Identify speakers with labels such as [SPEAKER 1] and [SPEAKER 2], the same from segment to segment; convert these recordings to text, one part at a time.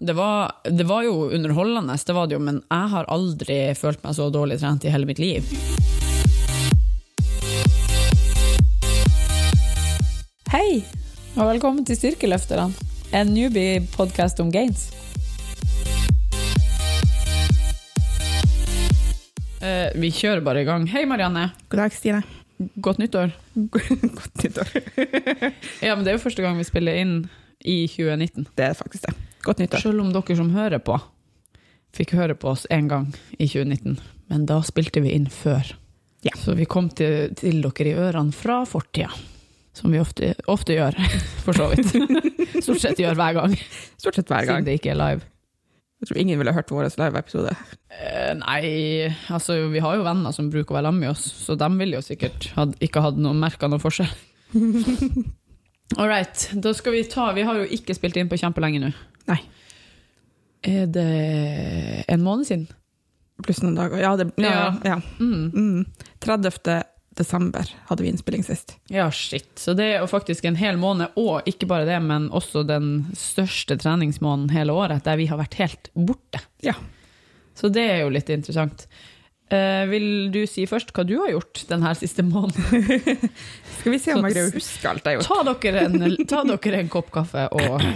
[SPEAKER 1] Det var, det var jo underholdende, det var det jo, men jeg har aldri følt meg så dårlig trent i hele mitt liv.
[SPEAKER 2] Hei, og velkommen til Styrkeløfterne, en newbie-podkast om gains.
[SPEAKER 1] Eh, vi kjører bare i gang. Hei, Marianne.
[SPEAKER 3] God dag, Stine.
[SPEAKER 1] Godt nyttår.
[SPEAKER 3] Godt nyttår.
[SPEAKER 1] Ja, men Det er jo første gang vi spiller inn i 2019.
[SPEAKER 3] Det er faktisk det. Godt nyttår.
[SPEAKER 1] Selv om dere som hører på, fikk høre på oss én gang i 2019. Men da spilte vi inn før.
[SPEAKER 3] Ja.
[SPEAKER 1] Så vi kom til, til dere i ørene fra fortida. Som vi ofte, ofte gjør, for så vidt. Stort sett gjør hver gang,
[SPEAKER 3] Stort sett hver
[SPEAKER 1] siden
[SPEAKER 3] gang.
[SPEAKER 1] det ikke er live.
[SPEAKER 3] Jeg tror ingen ville hørt vår live-episode.
[SPEAKER 1] Eh, nei, altså vi har jo venner som bruker å være sammen med oss, så de ville jo sikkert had, ikke hatt noen merka noen forskjell. All right, da skal vi ta Vi har jo ikke spilt inn på kjempelenge nå.
[SPEAKER 3] Nei.
[SPEAKER 1] Er det en måned siden?
[SPEAKER 3] Pluss noen dager. Ja, det, ja, ja.
[SPEAKER 1] Mm.
[SPEAKER 3] Mm. 30. desember hadde vi innspilling sist.
[SPEAKER 1] Ja, shit. Så det er jo faktisk en hel måned, og ikke bare det, men også den største treningsmåneden hele året, der vi har vært helt borte.
[SPEAKER 3] Ja.
[SPEAKER 1] Så det er jo litt interessant. Eh, vil du si først hva du har gjort den her siste måneden?
[SPEAKER 3] Skal vi se
[SPEAKER 1] Så-
[SPEAKER 3] om jeg greier å huske alt jeg har gjort?
[SPEAKER 1] Ta dere en, ta dere en kopp kaffe og,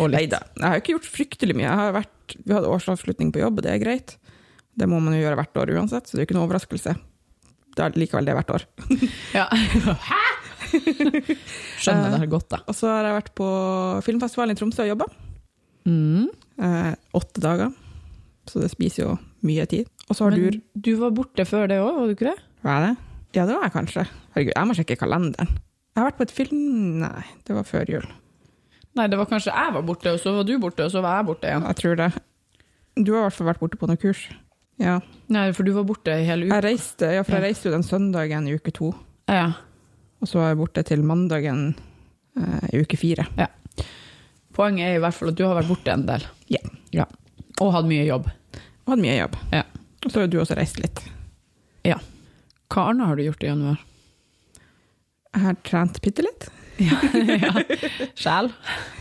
[SPEAKER 1] og
[SPEAKER 3] Nei
[SPEAKER 1] litt.
[SPEAKER 3] da. Jeg har jo ikke gjort fryktelig mye. Jeg har vært, vi hadde årsavslutning på jobb, og det er greit. Det må man jo gjøre hvert år uansett, så det er jo ikke noe overraskelse. Det er likevel det hvert år.
[SPEAKER 1] Ja. Hæ?! Eh, Skjønner det her godt, da.
[SPEAKER 3] Og så har jeg vært på filmfestivalen i Tromsø og jobba.
[SPEAKER 1] Mm.
[SPEAKER 3] Eh, åtte dager. Så det spiser jo mye tid. Og så har du
[SPEAKER 1] Men du var borte før det òg, var du ikke det?
[SPEAKER 3] Var jeg det? Ja, det var jeg kanskje. Herregud, jeg må sjekke kalenderen. Jeg har vært på et film... Nei, det var før jul.
[SPEAKER 1] Nei, det var kanskje jeg var borte, og så var du borte, og så var jeg borte igjen.
[SPEAKER 3] Jeg tror det. Du har i hvert fall vært borte på noen kurs. Ja.
[SPEAKER 1] Nei, for du var borte i hele uka.
[SPEAKER 3] Jeg reiste, ja, for jeg reiste jo den søndagen i uke to,
[SPEAKER 1] Ja.
[SPEAKER 3] og så var jeg borte til mandagen eh, i uke fire.
[SPEAKER 1] Poenget er i hvert fall at du har vært borte en del.
[SPEAKER 3] Ja.
[SPEAKER 1] Og hatt mye jobb.
[SPEAKER 3] Og hadde mye jobb.
[SPEAKER 1] Ja.
[SPEAKER 3] Og så har jo du også reist litt.
[SPEAKER 1] Hva annet har du gjort i januar?
[SPEAKER 3] Jeg har trent bitte litt.
[SPEAKER 1] Sjel?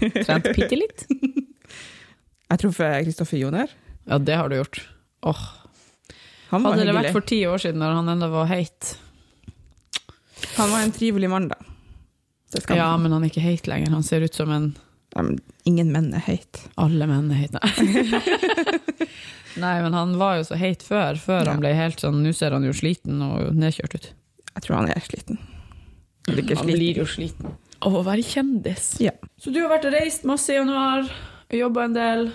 [SPEAKER 1] Trent bitte litt?
[SPEAKER 3] Jeg truffet Kristoffer Joner.
[SPEAKER 1] Ja, det har du gjort. Åh,
[SPEAKER 3] Han var,
[SPEAKER 1] Hadde det
[SPEAKER 3] hyggelig.
[SPEAKER 1] vært for ti år siden, når han ennå var heit
[SPEAKER 3] han var en trivelig mann, da. Det skal
[SPEAKER 1] Ja,
[SPEAKER 3] man-
[SPEAKER 1] men han er ikke heit lenger. Han ser ut som en
[SPEAKER 3] Ja, men ingen menn er heit.
[SPEAKER 1] Alle menn er heite. Nei, men han var jo så heit før, før
[SPEAKER 3] Ja.
[SPEAKER 1] han ble helt sånn Nå ser han jo sliten og nedkjørt ut.
[SPEAKER 3] Jeg tror han er sliten. Eller ikke sliten.
[SPEAKER 1] jo sliten. Av å være kjendis.
[SPEAKER 3] Ja.
[SPEAKER 1] Så du har vært og reist masse i januar, jobba en del,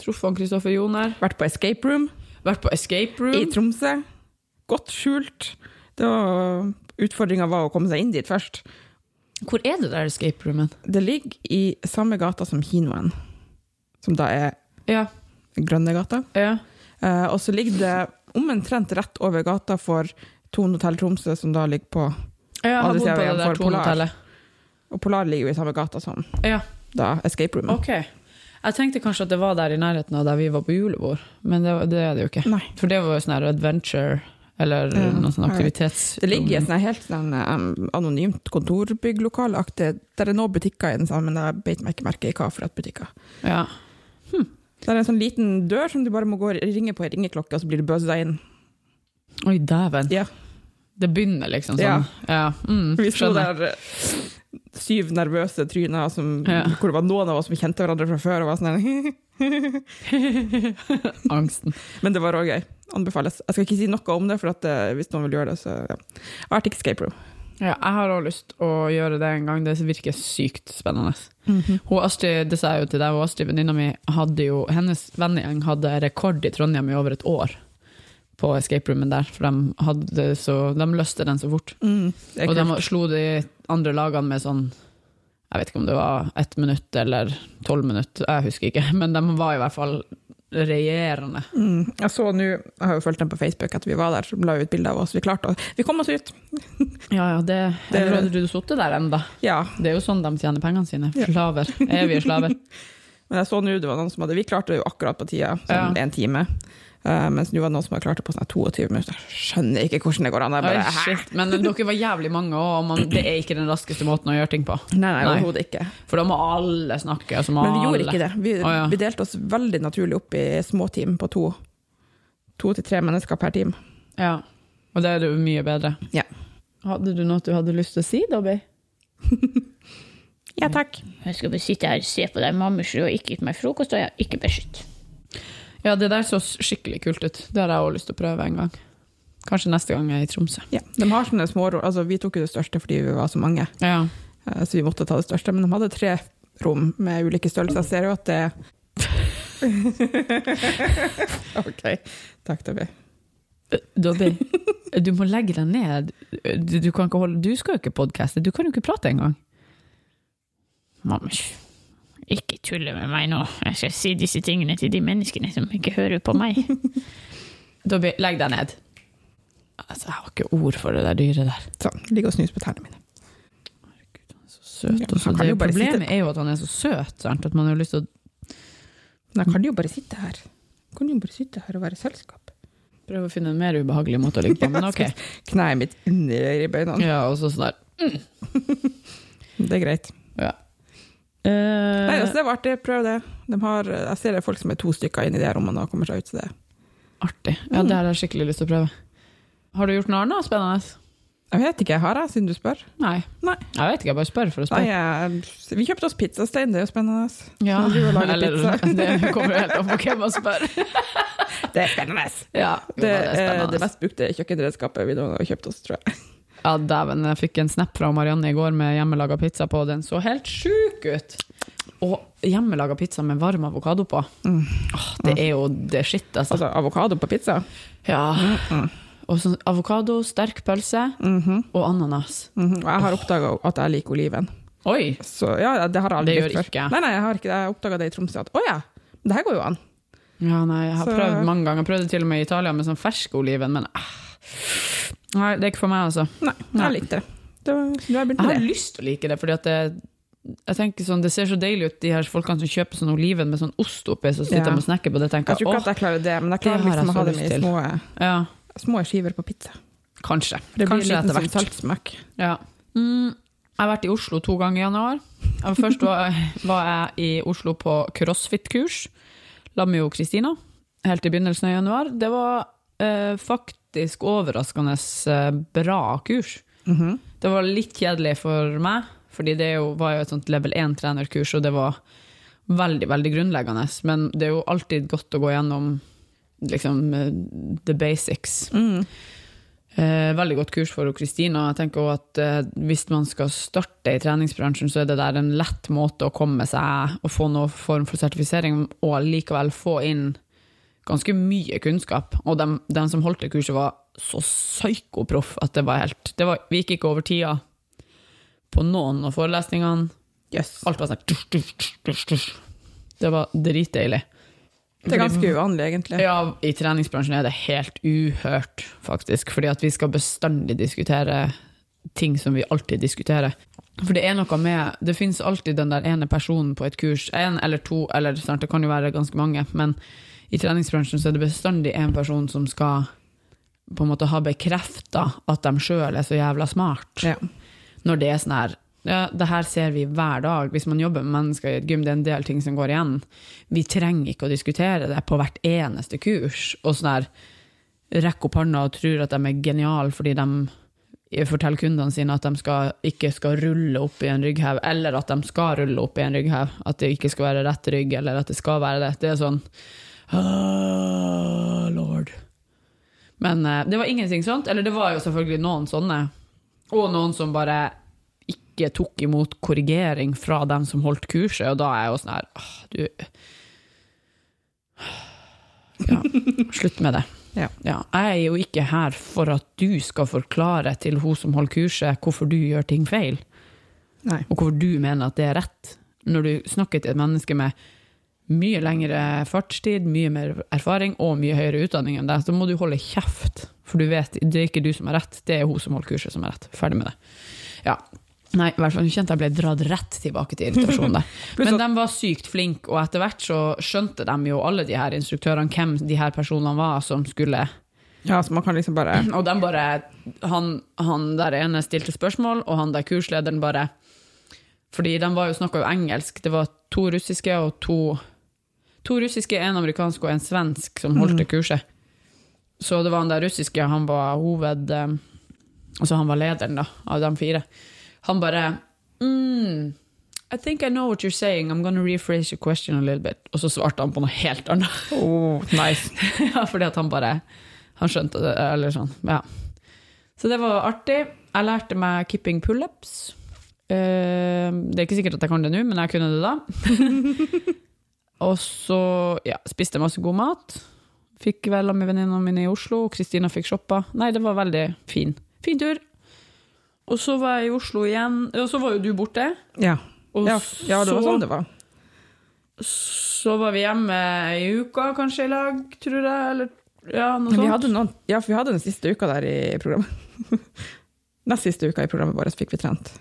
[SPEAKER 1] truffet han Kristoffer Joner,
[SPEAKER 3] Vært på escape room.
[SPEAKER 1] vært på escape
[SPEAKER 3] i
[SPEAKER 1] room.
[SPEAKER 3] Tromsø. Godt skjult. Det var, utfordringen var å komme seg inn dit først.
[SPEAKER 1] Hvor er det der escape roomen?
[SPEAKER 3] Det ligger i samme gata som kinoen, som da er
[SPEAKER 1] Ja,
[SPEAKER 3] Grønnegata.
[SPEAKER 1] ja.
[SPEAKER 3] Eh, og så ligger det omtrent rett over gata for Tone Hotell Tromsø, som da ligger på
[SPEAKER 1] Jeg har
[SPEAKER 3] Andre
[SPEAKER 1] bodd
[SPEAKER 3] siden
[SPEAKER 1] på det
[SPEAKER 3] veien
[SPEAKER 1] der
[SPEAKER 3] for Polar.
[SPEAKER 1] tonehotellet.
[SPEAKER 3] Og Polar ligger jo i samme gata som
[SPEAKER 1] Ja,
[SPEAKER 3] da Escape Room.
[SPEAKER 1] ok. Jeg tenkte kanskje at det var der i nærheten av der vi var på julebord, men det, var- det er det jo ikke.
[SPEAKER 3] Nei.
[SPEAKER 1] For det var jo sånn her adventure, eller
[SPEAKER 3] Ja,
[SPEAKER 1] noe sånn
[SPEAKER 3] alright.
[SPEAKER 1] aktivitets...
[SPEAKER 3] Det ligger i et sånn her helt sånn, em, anonymt kontorbygglokaleaktig Der er nå butikker i den samme, men jeg beit meg ikke merke i hva for et butikker.
[SPEAKER 1] Ja.
[SPEAKER 3] Det er en sånn liten dør som du bare må gå og ringe på i ringeklokke, og så blir du bøsa inn.
[SPEAKER 1] Oi, dæven.
[SPEAKER 3] Ja.
[SPEAKER 1] Det begynner liksom
[SPEAKER 3] Ja.
[SPEAKER 1] sånn. Ja. Mm,
[SPEAKER 3] Vi sto
[SPEAKER 1] skjønner.
[SPEAKER 3] der eh, syv nervøse tryner som,
[SPEAKER 1] Ja.
[SPEAKER 3] hvor det var noen av oss som kjente hverandre fra før. Og var sånn, her,
[SPEAKER 1] Angsten.
[SPEAKER 3] men det var òg gøy. Anbefales. Jeg skal ikke si noe om det, for at, eh, hvis noen vil gjøre det, så ja. Jeg har vært i escape room.
[SPEAKER 1] Ja, jeg har også lyst å gjøre det en gang. Det virker sykt spennende. Hun Astrid, det sa jeg jo til deg, hun Astrid, venninna mi, hadde jo, hennes vennegjeng hadde rekord i Trondheim i over et år på escape roomen der, for de, hadde så, de løste den så fort.
[SPEAKER 3] Mm, Det er
[SPEAKER 1] Og de
[SPEAKER 3] kult.
[SPEAKER 1] slo de andre lagene med sånn, jeg vet ikke om det var ett minutt eller tolv minutt, jeg husker ikke, men de var i hvert fall regjerende.
[SPEAKER 3] Mm. Jeg så nå, jeg har jo fulgt dem på Facebook etter vi var der, som la ut bilde av oss. Vi klarte å Vi kom oss ut!
[SPEAKER 1] Ja, ja, det,
[SPEAKER 3] Det-
[SPEAKER 1] eller hadde du sittet der enda?
[SPEAKER 3] Ja.
[SPEAKER 1] Det er jo sånn de tjener pengene sine,
[SPEAKER 3] Ja.
[SPEAKER 1] slaver, evige slaver.
[SPEAKER 3] Men jeg så nå det var noen som hadde Vi klarte det jo akkurat på tida, sånn
[SPEAKER 1] Ja.
[SPEAKER 3] en time. Eh, mens nå var det noen som hadde klart det på sånn 22 minutter. Jeg skjønner ikke hvordan det går an. Jeg bare,
[SPEAKER 1] Oi,
[SPEAKER 3] hæ?
[SPEAKER 1] shit. Men dere var jævlig mange, også, og man, det er ikke den raskeste måten å gjøre ting på.
[SPEAKER 3] Nei, nei,
[SPEAKER 1] Nei.
[SPEAKER 3] overhodet ikke.
[SPEAKER 1] For da må alle snakke. og så må
[SPEAKER 3] Men vi gjorde
[SPEAKER 1] alle-
[SPEAKER 3] ikke det. Vi,
[SPEAKER 1] Å, ja.
[SPEAKER 3] vi delte oss veldig naturlig opp i små team på to. To til tre mennesker per team.
[SPEAKER 1] Ja. Og det er jo mye bedre.
[SPEAKER 3] Ja.
[SPEAKER 1] Hadde du noe du hadde lyst til å si, Dobby?
[SPEAKER 3] Ja, takk.
[SPEAKER 4] Jeg skal bare sitte her og se på deg, mamma, så du har ikke gitt meg frokost, og jeg har ikke beskytt.
[SPEAKER 1] Ja, det der så skikkelig kult ut. Det har jeg også lyst til å prøve en gang. Kanskje neste gang jeg er i Tromsø.
[SPEAKER 3] Ja. De har sånne små rom. Altså, vi tok jo det største fordi vi var så mange,
[SPEAKER 1] Ja.
[SPEAKER 3] eh, så vi måtte ta det største. Men de hadde tre rom med ulike størrelser. Jeg ser jo at det OK. Takk, Tobi.
[SPEAKER 1] Eh, Dobby, eh, du må legge deg ned. Eh, Du, du, kan ikke holde, du skal jo ikke podcaste, du kan jo ikke prate engang.
[SPEAKER 4] Mamma, hysj. ikke tulle med meg nå. Jeg skal si disse tingene til de menneskene som ikke hører på meg.
[SPEAKER 1] Dobby, legg deg ned. Altså, jeg har ikke ord for det der dyret der.
[SPEAKER 3] Sånn. Ligger og snuser på tærne mine.
[SPEAKER 1] Søt.
[SPEAKER 3] Ja,
[SPEAKER 1] og så
[SPEAKER 3] han kan
[SPEAKER 1] det
[SPEAKER 3] jo bare
[SPEAKER 1] problemet
[SPEAKER 3] sitte-
[SPEAKER 1] er jo at han er så søt, sant? at man har lyst til å
[SPEAKER 3] Men jeg kan jo bare sitte her. Jeg kan jo bare sitte her og være selskap.
[SPEAKER 1] prøve å finne en mer ubehagelig måte å ligge på. Men ok.
[SPEAKER 3] Kneet mitt inni ribbeina.
[SPEAKER 1] Ja, og så sånn der.
[SPEAKER 3] Det er greit.
[SPEAKER 1] Ja.
[SPEAKER 3] Nei,
[SPEAKER 1] Eh,
[SPEAKER 3] altså, det var artig. Prøv det. De har, jeg ser det er folk som er to stykker inne i de her rommene og kommer seg ut. Så det.
[SPEAKER 1] artig. Ja,
[SPEAKER 3] Mm.
[SPEAKER 1] det har jeg skikkelig lyst til å prøve. Har du gjort noe annet spennende?
[SPEAKER 3] Jeg vet ikke, har jeg, siden du spør?
[SPEAKER 1] Nei.
[SPEAKER 3] Nei.
[SPEAKER 1] Jeg vet ikke, jeg bare spør for å spørre.
[SPEAKER 3] Nei, jeg, vi kjøpte oss pizzastein, det er jo spennende.
[SPEAKER 1] Ja,
[SPEAKER 3] Nå driver jeg og lager
[SPEAKER 1] eller det kommer jo helt an på hvem man spør.
[SPEAKER 3] Det er spennende!
[SPEAKER 1] Ja, jo,
[SPEAKER 3] Det
[SPEAKER 1] da,
[SPEAKER 3] er det
[SPEAKER 1] spennende.
[SPEAKER 3] mest brukte kjøkkenredskapet vi noen gang har kjøpt oss, tror jeg.
[SPEAKER 1] Ja, dæven, jeg fikk en snap fra Marianne i går med hjemmelaga pizza på, og den så helt sjuk ut! Og hjemmelaga pizza med varm avokado på. Åh, det er jo det shit, altså.
[SPEAKER 3] Mm. Altså avokado på pizza.
[SPEAKER 1] Ja. Og så avokado, sterk pølse og ananas.
[SPEAKER 3] Mhm, Og jeg har oppdaga at jeg liker oliven.
[SPEAKER 1] Oi!
[SPEAKER 3] Så ja, det har jeg aldri
[SPEAKER 1] Det gjør
[SPEAKER 3] gjort før.
[SPEAKER 1] ikke jeg.
[SPEAKER 3] Nei, nei, jeg har ikke det. Jeg oppdaga det i Tromsø at å ja, det her går jo an.
[SPEAKER 1] Ja, nei, jeg har
[SPEAKER 3] Så-
[SPEAKER 1] prøvd mange ganger. Jeg prøvde til og med i Italia med sånn fersk oliven, men ah. Nei, det er ikke for meg, altså.
[SPEAKER 3] Nei,
[SPEAKER 1] Nei.
[SPEAKER 3] jeg likte det. Da, nå har jeg begynt
[SPEAKER 1] Jeg har
[SPEAKER 3] med det.
[SPEAKER 1] lyst til å like det, fordi at det, jeg tenker sånn, det ser så deilig ut, de her folkene som kjøper sånn oliven med sånn ost oppi, så sitter
[SPEAKER 3] Ja.
[SPEAKER 1] de og snakker på det,
[SPEAKER 3] Jeg
[SPEAKER 1] tenker
[SPEAKER 3] tror
[SPEAKER 1] jeg,
[SPEAKER 3] ikke
[SPEAKER 1] åh,
[SPEAKER 3] at jeg klarer det, men jeg
[SPEAKER 1] det
[SPEAKER 3] klarer
[SPEAKER 1] har jeg
[SPEAKER 3] liksom
[SPEAKER 1] så
[SPEAKER 3] å ha dem
[SPEAKER 1] lyst
[SPEAKER 3] i
[SPEAKER 1] til.
[SPEAKER 3] små,
[SPEAKER 1] ja,
[SPEAKER 3] små skiver på pizza.
[SPEAKER 1] kanskje.
[SPEAKER 3] Det blir
[SPEAKER 1] kanskje
[SPEAKER 3] en
[SPEAKER 1] etter
[SPEAKER 3] liten sånn
[SPEAKER 1] hvert.
[SPEAKER 3] saltsmak.
[SPEAKER 1] Ja. Mm, jeg har vært i Oslo to ganger i januar. Jeg- Først var, var jeg i Oslo på crossfit-kurs, sammen med jo Kristina, helt i begynnelsen av januar. Det var eh, faktisk overraskende eh, bra kurs.
[SPEAKER 3] Mhm.
[SPEAKER 1] Det var litt kjedelig for meg, fordi det jo, var jo et sånt level 1-trenerkurs, og det var veldig, veldig grunnleggende. Men det er jo alltid godt å gå gjennom liksom, eh, the basics. Eh, veldig godt kurs for Kristina. Jeg tenker også at eh, Hvis man skal starte i treningsbransjen, så er det der en lett måte å komme seg og få noen form for sertifisering, og likevel få inn ganske mye kunnskap. Og dem, dem som holdt det kurset, var så psykoproff at det var helt det var, Vi gikk ikke over tida på noen av forelesningene.
[SPEAKER 3] Yes.
[SPEAKER 1] Alt var sånn tusj, tusj, tusj, tusj, tusj. Det var dritdeilig.
[SPEAKER 3] Det er ganske uvanlig, egentlig.
[SPEAKER 1] Ja, I treningsbransjen er det helt uhørt, faktisk. Fordi at vi skal bestandig diskutere ting som vi alltid diskuterer. For det er noe med Det finnes alltid den der ene personen på et kurs, én eller to, eller snart, det kan jo være ganske mange, men i treningsbransjen så er det bestandig en person som skal på en måte ha bekrefta at de sjøl er så jævla smart
[SPEAKER 3] Ja.
[SPEAKER 1] når det er sånn her ja, det her ser vi hver dag. Hvis man jobber med mennesker i et gym, det er en del ting som går igjen. Vi trenger ikke å diskutere det på hvert eneste kurs. Og sånn her, rekke opp hånda og tror at de er geniale fordi de forteller kundene sine at de skal, ikke skal rulle opp i en rygghev, eller at de skal rulle opp i en rygghev. At det ikke skal være rett rygg, eller at det skal være det. Det er sånn «Ah, Lord. Men eh, det var ingenting sånt. Eller det var jo selvfølgelig noen sånne. Og noen som bare ikke tok imot korrigering fra dem som holdt kurset, og da er jeg jo sånn her «Åh, Du Ja, slutt med det.
[SPEAKER 3] Ja.
[SPEAKER 1] jeg er jo ikke her for at du skal forklare til hun som holder kurset, hvorfor du gjør ting feil,
[SPEAKER 3] Nei.
[SPEAKER 1] og hvorfor du mener at det er rett. Når du snakker til et menneske med mye lengre fartstid, mye mer erfaring og mye høyere utdanning enn deg, så må du holde kjeft. For du vet, det er ikke du som har rett, det er hun som holder kurset som har rett. Ferdig med det. Ja. Nei, i hvert fall jeg kjente jeg ble dratt rett tilbake til irritasjon der.
[SPEAKER 3] Pluss
[SPEAKER 1] Men
[SPEAKER 3] at-
[SPEAKER 1] de var sykt flinke, og etter hvert så skjønte de jo alle de her instruktørene hvem de her personene var som skulle
[SPEAKER 3] Ja, så man kan liksom bare
[SPEAKER 1] Og de bare han, han der ene stilte spørsmål, og han der kurslederen bare Fordi de var jo snakka jo engelsk. Det var to russiske og to To russiske, en amerikansk og en svensk som holdt
[SPEAKER 3] Mm.
[SPEAKER 1] det kurset. Så det var han der russiske, han var hoved... eh, Altså han var lederen da, av de fire. Han bare mm, I think I know what you're saying, I'm gonna rephrase your question a little bit. Og så svarte han på noe helt annet.
[SPEAKER 3] oh, Nice.
[SPEAKER 1] Ja, fordi at han bare Han skjønte det, eller sånn. Ja. Så det var artig. Jeg lærte meg kipping pullups. Eh, Det er ikke sikkert at jeg kan det nå, men jeg kunne det da. og så ja, spiste jeg masse god mat. Fikk kvelder med venninnene mine i Oslo. Kristina fikk shoppa. Nei, det var veldig fin. Fin tur. Og så var jeg i Oslo igjen. Og så var jo du borte.
[SPEAKER 3] Ja.
[SPEAKER 1] Og
[SPEAKER 3] Ja, ja, det var
[SPEAKER 1] så-
[SPEAKER 3] sånn det var.
[SPEAKER 1] Så var vi hjemme ei uke kanskje i lag, tror jeg. Eller ja, noe sånt.
[SPEAKER 3] Vi hadde noen, ja, for vi hadde den siste uka der i programmet. Nest siste uka i programmet vårt fikk vi trent.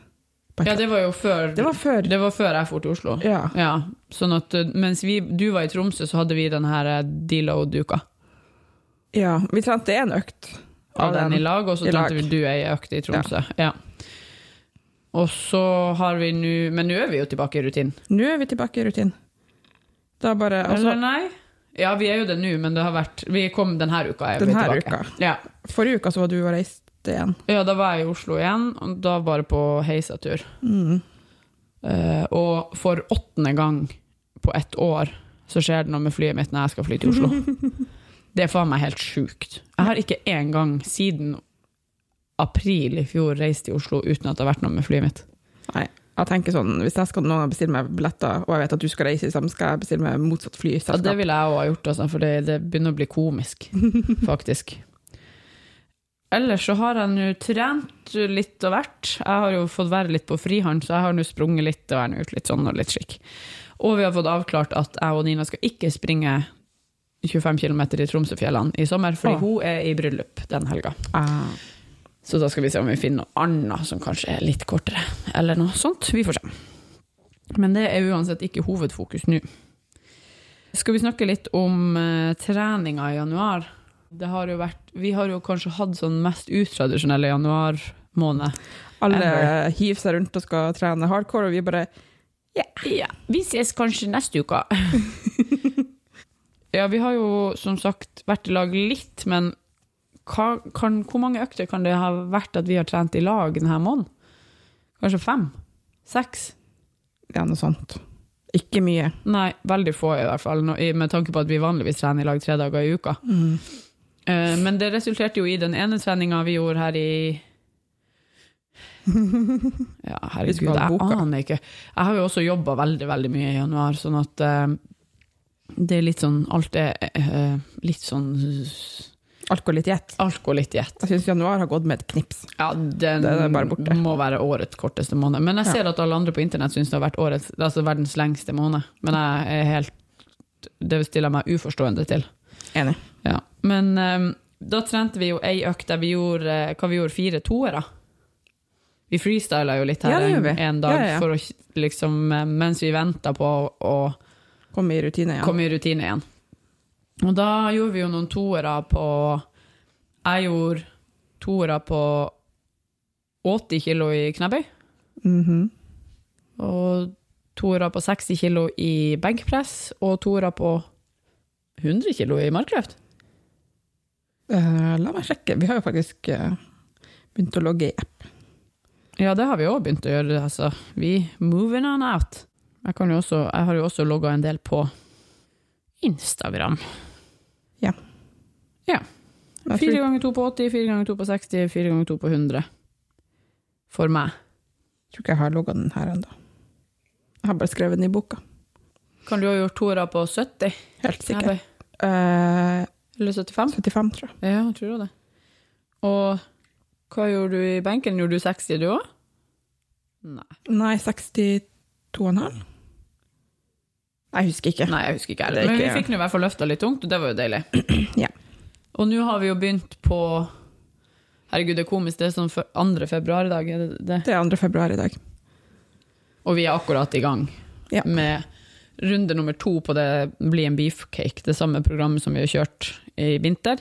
[SPEAKER 3] På
[SPEAKER 1] Ja,
[SPEAKER 3] et-
[SPEAKER 1] det var jo før,
[SPEAKER 3] det var før.
[SPEAKER 1] det var før jeg dro til Oslo.
[SPEAKER 3] Ja.
[SPEAKER 1] Ja, sånn at eh, mens vi, du var i Tromsø, så hadde vi den her eh, deload-uka.
[SPEAKER 3] ja. Vi trente én økt
[SPEAKER 1] Av den i lag, og så
[SPEAKER 3] i lag.
[SPEAKER 1] trente vi du ei økt i Tromsø. Ja. Og så har vi nå Men nå er vi jo tilbake i rutinen.
[SPEAKER 3] Nå er vi tilbake i rutin. Da bare
[SPEAKER 1] Eller
[SPEAKER 3] altså,
[SPEAKER 1] nei? Ja, vi er jo det nå, men det har vært Vi kom denne uka. Er vi
[SPEAKER 3] Den her
[SPEAKER 1] tilbake.
[SPEAKER 3] uka.
[SPEAKER 1] Ja.
[SPEAKER 3] Forrige uka så var du og reiste igjen.
[SPEAKER 1] ja, da var jeg i Oslo igjen, og da bare på heisatur.
[SPEAKER 3] Mm.
[SPEAKER 1] Eh, og for åttende gang på ett år så skjer det noe med flyet mitt når jeg skal fly til Oslo. Det er faen meg helt sjukt. Jeg har ikke én gang siden april i fjor reist til Oslo uten at det har vært noe med flyet mitt.
[SPEAKER 3] Nei, jeg tenker sånn, Hvis jeg skal noen gang bestille meg billetter, og jeg vet at du skal reise sammen, skal jeg bestille meg
[SPEAKER 1] Ja,
[SPEAKER 3] motsatt
[SPEAKER 1] det
[SPEAKER 3] flyselskap.
[SPEAKER 1] ville jeg òg ha gjort, altså, for det, det begynner å bli komisk, faktisk. Ellers så har jeg nå trent litt av hvert. Jeg har jo fått være litt på frihånd, så jeg har nå sprunget litt og er nå ut litt sånn og litt slik. Og vi har fått avklart at jeg og Nina skal ikke springe 25 km i Tromsøfjellene i sommer, fordi
[SPEAKER 3] Å.
[SPEAKER 1] hun er i bryllup den helga.
[SPEAKER 3] Ah.
[SPEAKER 1] Så da skal vi se om vi finner noe annet som kanskje er litt kortere, eller noe sånt. Vi får se. Men det er uansett ikke hovedfokus nå. Skal vi snakke litt om eh, treninga i januar? Det har jo vært, vi har jo kanskje hatt sånn mest utradisjonelle januarmåned.
[SPEAKER 3] Alle
[SPEAKER 1] Ever.
[SPEAKER 3] hiver seg rundt og skal trene hardcore, og vi bare
[SPEAKER 4] Ja, vi ses kanskje neste uke.
[SPEAKER 1] Ja, vi har jo som sagt vært i lag litt, men hva, kan, hvor mange økter kan det ha vært at vi har trent i lag denne måneden? Kanskje fem? Seks?
[SPEAKER 3] Ja, noe sånt. Ikke mye.
[SPEAKER 1] Nei, veldig få i hvert fall, nå- i- med tanke på at vi vanligvis trener i lag tre dager i uka. Eh, Men det resulterte jo i den ene treninga vi gjorde her i Ja, herregud,
[SPEAKER 3] skal
[SPEAKER 1] jeg
[SPEAKER 3] ha boka.
[SPEAKER 1] aner ikke. Jeg har jo også jobba veldig, veldig mye i januar, sånn at eh, det er litt sånn Alt er eh, litt sånn
[SPEAKER 3] Alt går litt i ett.
[SPEAKER 1] Alt går litt i ett.
[SPEAKER 3] Jeg syns januar har gått med et knips.
[SPEAKER 1] Ja, den
[SPEAKER 3] Den er bare borte.
[SPEAKER 1] må være årets korteste måned. Men jeg ser at alle andre på internett syns det har vært årets, altså verdens lengste måned. Men jeg er helt Det stiller jeg meg uforstående til.
[SPEAKER 3] Enig.
[SPEAKER 1] Ja. Men eh, da trente vi jo ei økt der vi gjorde, eh, hva vi gjorde fire toere. Vi freestyla jo litt her
[SPEAKER 3] Ja, det
[SPEAKER 1] en,
[SPEAKER 3] gjorde vi.
[SPEAKER 1] en dag
[SPEAKER 3] Ja, ja, ja.
[SPEAKER 1] For å, liksom, eh, mens vi venta på å, å
[SPEAKER 3] Kom i rutine igjen.
[SPEAKER 1] komme i rutine igjen. Og da gjorde vi jo noen toere på Jeg gjorde toere på 80 kilo i knebøy.
[SPEAKER 3] Mhm.
[SPEAKER 1] Og toere på 60 kilo i benkpress, og toere på 100 kilo i markløft.
[SPEAKER 3] Eh, la meg sjekke. Vi har jo faktisk eh, begynt å logge i app.
[SPEAKER 1] Ja, det har vi òg begynt å gjøre. Altså. Vi moving on out. Jeg, kan jo også, jeg har jo også logga en del på
[SPEAKER 4] Instagram.
[SPEAKER 3] Jeg
[SPEAKER 1] Fire
[SPEAKER 3] tror,
[SPEAKER 1] ganger to på 80, fire ganger to på 60, fire ganger to på 100. For meg.
[SPEAKER 3] tror ikke jeg har logga den her ennå. Jeg har bare skrevet den i boka.
[SPEAKER 1] Kan du ha gjort toere på 70?
[SPEAKER 3] Helt sikkert.
[SPEAKER 1] knebøy?
[SPEAKER 3] Eh,
[SPEAKER 1] Eller 75?
[SPEAKER 3] 75, tror jeg.
[SPEAKER 1] Ja, jeg tror det. Og hva gjorde du i benken? Gjorde du 60, du òg? Nei.
[SPEAKER 3] Nei, 62,5? Jeg husker ikke.
[SPEAKER 1] Nei, jeg husker ikke
[SPEAKER 3] Det er
[SPEAKER 1] heller. Men vi
[SPEAKER 3] ikke-
[SPEAKER 1] fikk nå i hvert fall løfta litt tungt, og det var jo deilig.
[SPEAKER 3] Ja.
[SPEAKER 1] Og nå har vi jo begynt på Herregud, det er komisk. Det er sånn fø- 2. februar i dag, er det det?
[SPEAKER 3] Det er 2. februar i dag.
[SPEAKER 1] Og vi er akkurat i gang
[SPEAKER 3] Ja.
[SPEAKER 1] med runde nummer to på det Bli en beefcake, det samme programmet som vi har kjørt i vinter.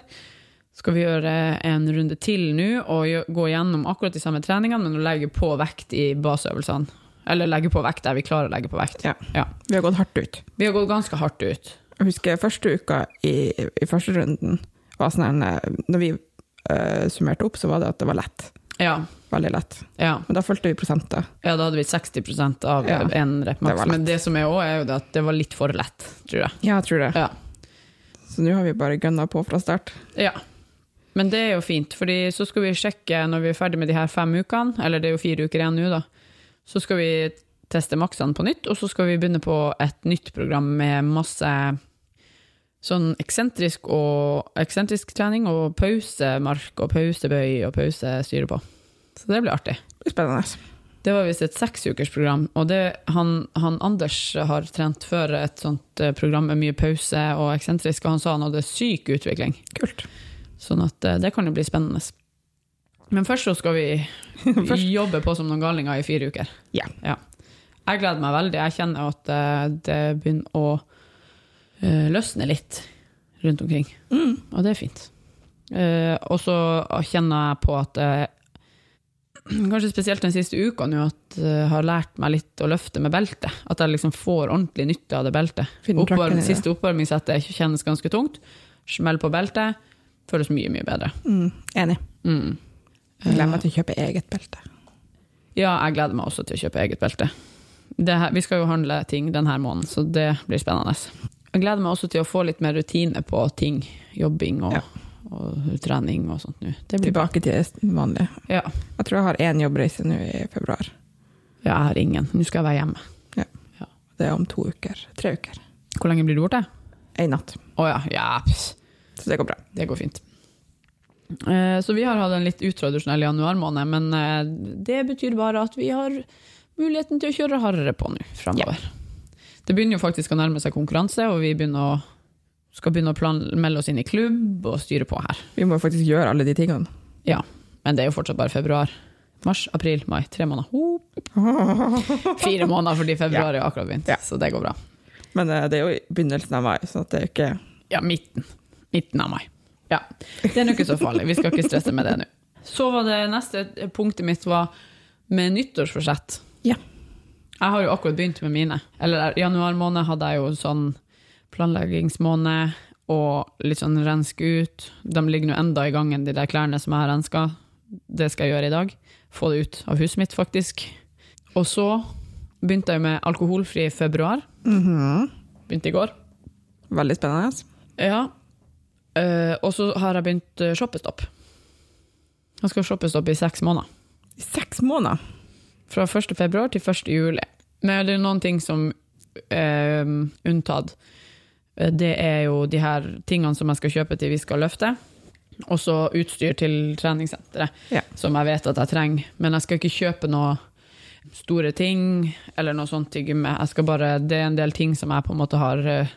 [SPEAKER 1] Skal vi gjøre en runde til nå og gjø- gå gjennom akkurat de samme treningene, men å legge på vekt i baseøvelsene. Eller legge på vekt der vi klarer å legge på vekt.
[SPEAKER 3] Ja. Vi har gått hardt ut.
[SPEAKER 1] Vi har gått ganske hardt ut.
[SPEAKER 3] Jeg husker første uka i, i første runden var sånn her, eh, Når vi eh, summerte opp, så var det at det var lett.
[SPEAKER 1] Ja,
[SPEAKER 3] Veldig lett.
[SPEAKER 1] ja.
[SPEAKER 3] Men da fulgte vi prosenter.
[SPEAKER 1] ja da hadde vi 60 av
[SPEAKER 3] Ja.
[SPEAKER 1] én rep
[SPEAKER 3] Det
[SPEAKER 1] maks.
[SPEAKER 3] var lett.
[SPEAKER 1] Men det som er òg, er jo det at det var litt for lett, tror jeg.
[SPEAKER 3] Ja, jeg tror det.
[SPEAKER 1] Ja.
[SPEAKER 3] Så nå har vi bare gønna på fra start.
[SPEAKER 1] Ja. Men det er jo fint, fordi så skal vi sjekke når vi er ferdig med de her fem ukene, eller det er jo fire uker igjen nå, da. Så skal vi teste maksene på nytt, og så skal vi begynne på et nytt program med masse sånn eksentrisk, og, eksentrisk trening og pausemark og pausebøy og pausestyre på. Så det blir artig.
[SPEAKER 3] Det blir spennende.
[SPEAKER 1] Det var visst et seksukersprogram, og det, han, han Anders har trent før et sånt eh, program med mye pause og eksentrisk, og han sa han hadde syk utvikling.
[SPEAKER 3] Kult.
[SPEAKER 1] Sånn at eh, det kan jo bli spennende. Men først så skal vi
[SPEAKER 3] Først.
[SPEAKER 1] jobbe på som noen galninger i fire uker.
[SPEAKER 3] Ja.
[SPEAKER 1] Jeg gleder meg veldig. Jeg kjenner at eh, det begynner å eh, løsne litt rundt omkring. Og det er fint. Eh, og så kjenner jeg på at eh, Kanskje spesielt den siste uka nå at jeg har lært meg litt å løfte med belte. At jeg liksom får ordentlig nytte av det beltet.
[SPEAKER 3] Finner
[SPEAKER 1] Oppvarm-
[SPEAKER 3] krakken i det.
[SPEAKER 1] siste oppvarmingssettet kjennes ganske tungt. Smell på beltet. Føles mye, mye bedre.
[SPEAKER 3] Mm, enig.
[SPEAKER 1] Mm.
[SPEAKER 3] Jeg Gleder meg til å kjøpe eget belte.
[SPEAKER 1] Ja, jeg gleder meg også til å kjøpe eget belte. Det her, vi skal jo handle ting denne måneden, så det blir spennende. Jeg gleder meg også til å få litt mer rutine på ting. Jobbing og,
[SPEAKER 3] Ja.
[SPEAKER 1] og trening og sånt nå. Det blir bra.
[SPEAKER 3] Tilbake til det vanlige.
[SPEAKER 1] Ja.
[SPEAKER 3] Jeg tror jeg har én jobbreise nå i februar.
[SPEAKER 1] ja, jeg har ingen. Nå skal jeg være hjemme.
[SPEAKER 3] Det er om to uker. Tre uker.
[SPEAKER 1] Hvor lenge blir du borte?
[SPEAKER 3] Ei natt.
[SPEAKER 1] Å ja. ja. pss.
[SPEAKER 3] Så det går bra.
[SPEAKER 1] Det går fint. Eh, Så vi har hatt en litt utradisjonell januarmåned, men eh, det betyr bare at vi har muligheten til å kjøre hardere på nå framover. Det begynner jo faktisk å nærme seg konkurranse, og vi begynner å, skal begynne å plan melde oss inn i klubb og styre på her.
[SPEAKER 3] Vi må faktisk gjøre alle de tingene.
[SPEAKER 1] Men det er jo fortsatt bare februar. Mars, april, mai. Tre måneder. Ho! Fire måneder fordi februar er akkurat begynt,
[SPEAKER 3] Ja.
[SPEAKER 1] så det går bra.
[SPEAKER 3] Men eh, det er jo i begynnelsen av mai, så det er jo ikke
[SPEAKER 1] Ja, midten. Midten av mai. Ja. Det er nå ikke så farlig. Vi skal ikke stresse med det nå. Så var det neste punktet mitt var med nyttårsforsett.
[SPEAKER 3] Ja.
[SPEAKER 1] Jeg har jo akkurat begynt med mine. Eller eh, januar måned hadde jeg jo sånn planleggingsmåned og litt sånn renske ut. De ligger nå enda i gangen, de der klærne som jeg har renska. Det skal jeg gjøre i dag. Få det ut av huset mitt, faktisk. Og så begynte jeg med alkoholfri februar. Begynte i går.
[SPEAKER 3] veldig spennende. altså.
[SPEAKER 1] Ja. Eh, og så har jeg begynt eh, shoppestopp. Jeg skal ha shoppestopp i seks måneder.
[SPEAKER 3] I seks måneder!
[SPEAKER 1] Fra 1. februar til 1. juli. Men det er noen ting som eh, unntatt. Eh, Det er jo de her tingene som jeg skal kjøpe til vi skal løfte. Og så utstyr til treningssenteret,
[SPEAKER 3] Ja.
[SPEAKER 1] som jeg vet at jeg trenger. Men jeg skal ikke kjøpe noe store ting eller noe sånt til gymmet. Jeg skal bare, det er en del ting som jeg på en måte har eh,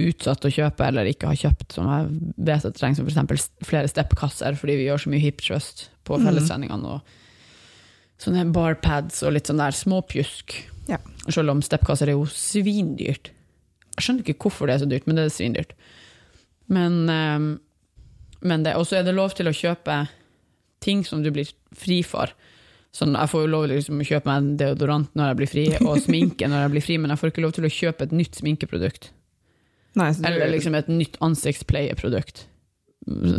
[SPEAKER 1] utsatt å kjøpe eller ikke har kjøpt, som jeg vet at jeg trenger, som f.eks. flere steppkasser, fordi vi gjør så mye hip thrust på
[SPEAKER 3] Mhm.
[SPEAKER 1] fellestreningene. Og sånne barpads og litt sånn der småpjusk.
[SPEAKER 3] Ja.
[SPEAKER 1] Selv om steppkasser er jo svindyrt. Jeg skjønner ikke hvorfor det er så dyrt, men det er svindyrt. Men, eh, men det, og så er det lov til å kjøpe ting som du blir fri for. Sånn, jeg får jo lov liksom, å kjøpe meg en deodorant når jeg blir fri, og sminke når jeg blir fri, men jeg får ikke lov til å kjøpe et nytt sminkeprodukt.
[SPEAKER 3] Nei, så du,
[SPEAKER 1] Eller liksom et nytt ansiktspleieprodukt.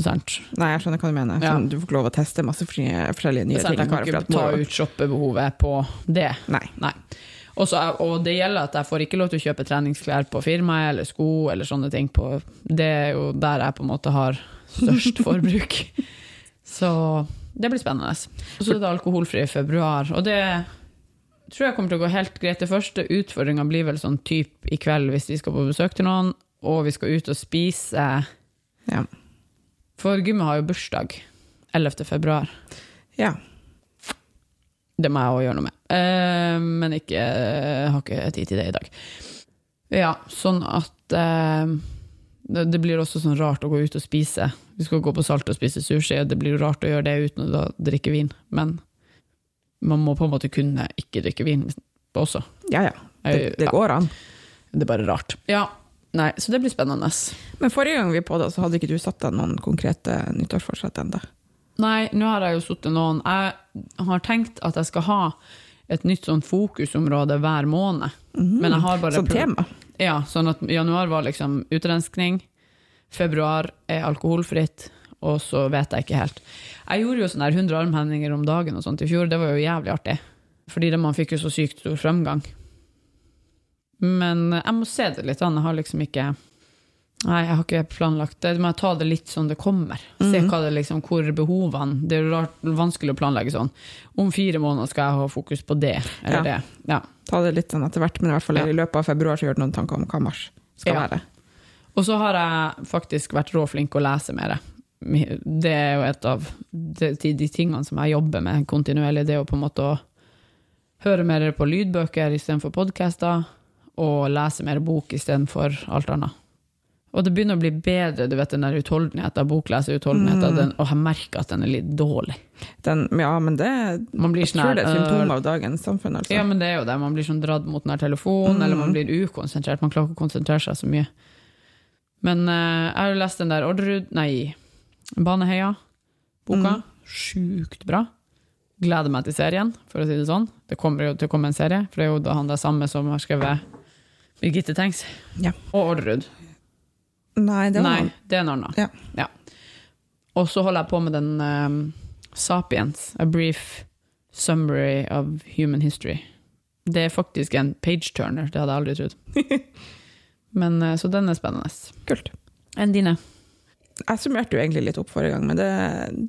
[SPEAKER 1] Sant?
[SPEAKER 3] nei, jeg skjønner hva du mener.
[SPEAKER 1] Ja.
[SPEAKER 3] Sånn, du får ikke lov å teste masse frie, forskjellige nye
[SPEAKER 1] Sant,
[SPEAKER 3] ting.
[SPEAKER 1] jeg kan
[SPEAKER 3] bare for
[SPEAKER 1] ikke
[SPEAKER 3] at
[SPEAKER 1] ta
[SPEAKER 3] moro-
[SPEAKER 1] ut shoppebehovet på det.
[SPEAKER 3] Nei.
[SPEAKER 1] Nei. Og så- og det gjelder at jeg får ikke lov til å kjøpe treningsklær på firmaet eller sko eller sånne ting. På, det er jo der jeg på en måte har størst forbruk. Så det blir spennende. Og så er det alkoholfri i februar. Og det tror jeg kommer til å gå helt greit. Det første utfordringa blir vel sånn type i kveld hvis vi skal på besøk til noen, og vi skal ut og spise.
[SPEAKER 3] Ja.
[SPEAKER 1] For gymmet har jo bursdag 11. februar.
[SPEAKER 3] ja.
[SPEAKER 1] Det må jeg også gjøre noe med. Eh, men ikke, jeg har ikke tid til det i dag. Ja, sånn at eh, det det blir også sånn rart å gå ut og spise. Vi skal gå på Salt og spise sushi, og det blir jo rart å gjøre det uten å da drikke vin. Men man må på en måte kunne ikke drikke vin også.
[SPEAKER 3] Ja, ja. Det, det går an.
[SPEAKER 1] Det er bare rart. Ja, nei, så det blir spennende.
[SPEAKER 3] Men forrige gang vi podda, så hadde ikke du satt deg noen konkrete nyttårsforsett ennå.
[SPEAKER 1] Nei, nå har jeg jo sittet noen Jeg har tenkt at jeg skal ha et nytt sånn fokusområde hver måned. Men jeg har bare
[SPEAKER 3] Mhm. Som
[SPEAKER 1] prøvd-
[SPEAKER 3] tema.
[SPEAKER 1] Ja, sånn at januar var liksom utrenskning. Februar er alkoholfritt. Og så vet jeg ikke helt. Jeg gjorde jo sånne her 100 armhendinger om dagen og sånt i fjor. Det var jo jævlig artig. Fordi det man fikk jo så sykt stor fremgang. Men eh, jeg må se det litt an. Jeg har liksom ikke Nei, jeg har ikke planlagt det. Du må ta det litt sånn det kommer. Se hva det liksom, hvor behovene Det er jo rart, vanskelig å planlegge sånn. Om fire måneder skal jeg ha fokus på det eller
[SPEAKER 3] Ja.
[SPEAKER 1] det. Ja.
[SPEAKER 3] Ta det litt sånn etter hvert, men i hvert fall
[SPEAKER 1] Ja.
[SPEAKER 3] i løpet av februar så gjør du noen tanker om hva mars skal
[SPEAKER 1] Ja.
[SPEAKER 3] være.
[SPEAKER 1] Og så har jeg faktisk vært råflink å lese mer. Det er jo et av de, de tingene som jeg jobber med kontinuerlig, det er jo på en måte å høre mer på lydbøker istedenfor podcaster, og lese mer bok istedenfor alt annet. Og det begynner å bli bedre, du vet den der utholdenheten,
[SPEAKER 3] Mm.
[SPEAKER 1] bokleserutholdenheten, den, og jeg merker at den er litt dårlig.
[SPEAKER 3] Den, ja, men det
[SPEAKER 1] Man blir
[SPEAKER 3] jeg tror
[SPEAKER 1] sånn
[SPEAKER 3] det er
[SPEAKER 1] her,
[SPEAKER 3] et symptom
[SPEAKER 1] øh,
[SPEAKER 3] av dagens samfunn, altså. Mm.
[SPEAKER 1] Ja, men det er jo det. Man blir sånn dratt mot den her telefonen, eller man blir ukonsentrert. Man klarer ikke å konsentrere seg så mye. Men eh, jeg har jo lest den der Orderud Nei, Baneheia-boka.
[SPEAKER 3] Mm.
[SPEAKER 1] Sjukt bra. Gleder meg til serien, for å si det sånn. Det kommer jo til å komme en serie, for det er jo da han der samme som har skrevet Birgitte Tengs.
[SPEAKER 3] Ja.
[SPEAKER 1] Og Orderud.
[SPEAKER 3] Nei, det var
[SPEAKER 1] Nei, det er en annen.
[SPEAKER 3] Ja.
[SPEAKER 1] Og så holder jeg på med den ehm, Sapiens, A Brief Summary of Human History. Det er faktisk en page-turner, det hadde jeg aldri trodd. Men, eh, så den er spennende.
[SPEAKER 3] kult.
[SPEAKER 1] Enn dine?
[SPEAKER 3] Jeg summerte jo egentlig litt opp forrige gang, men det,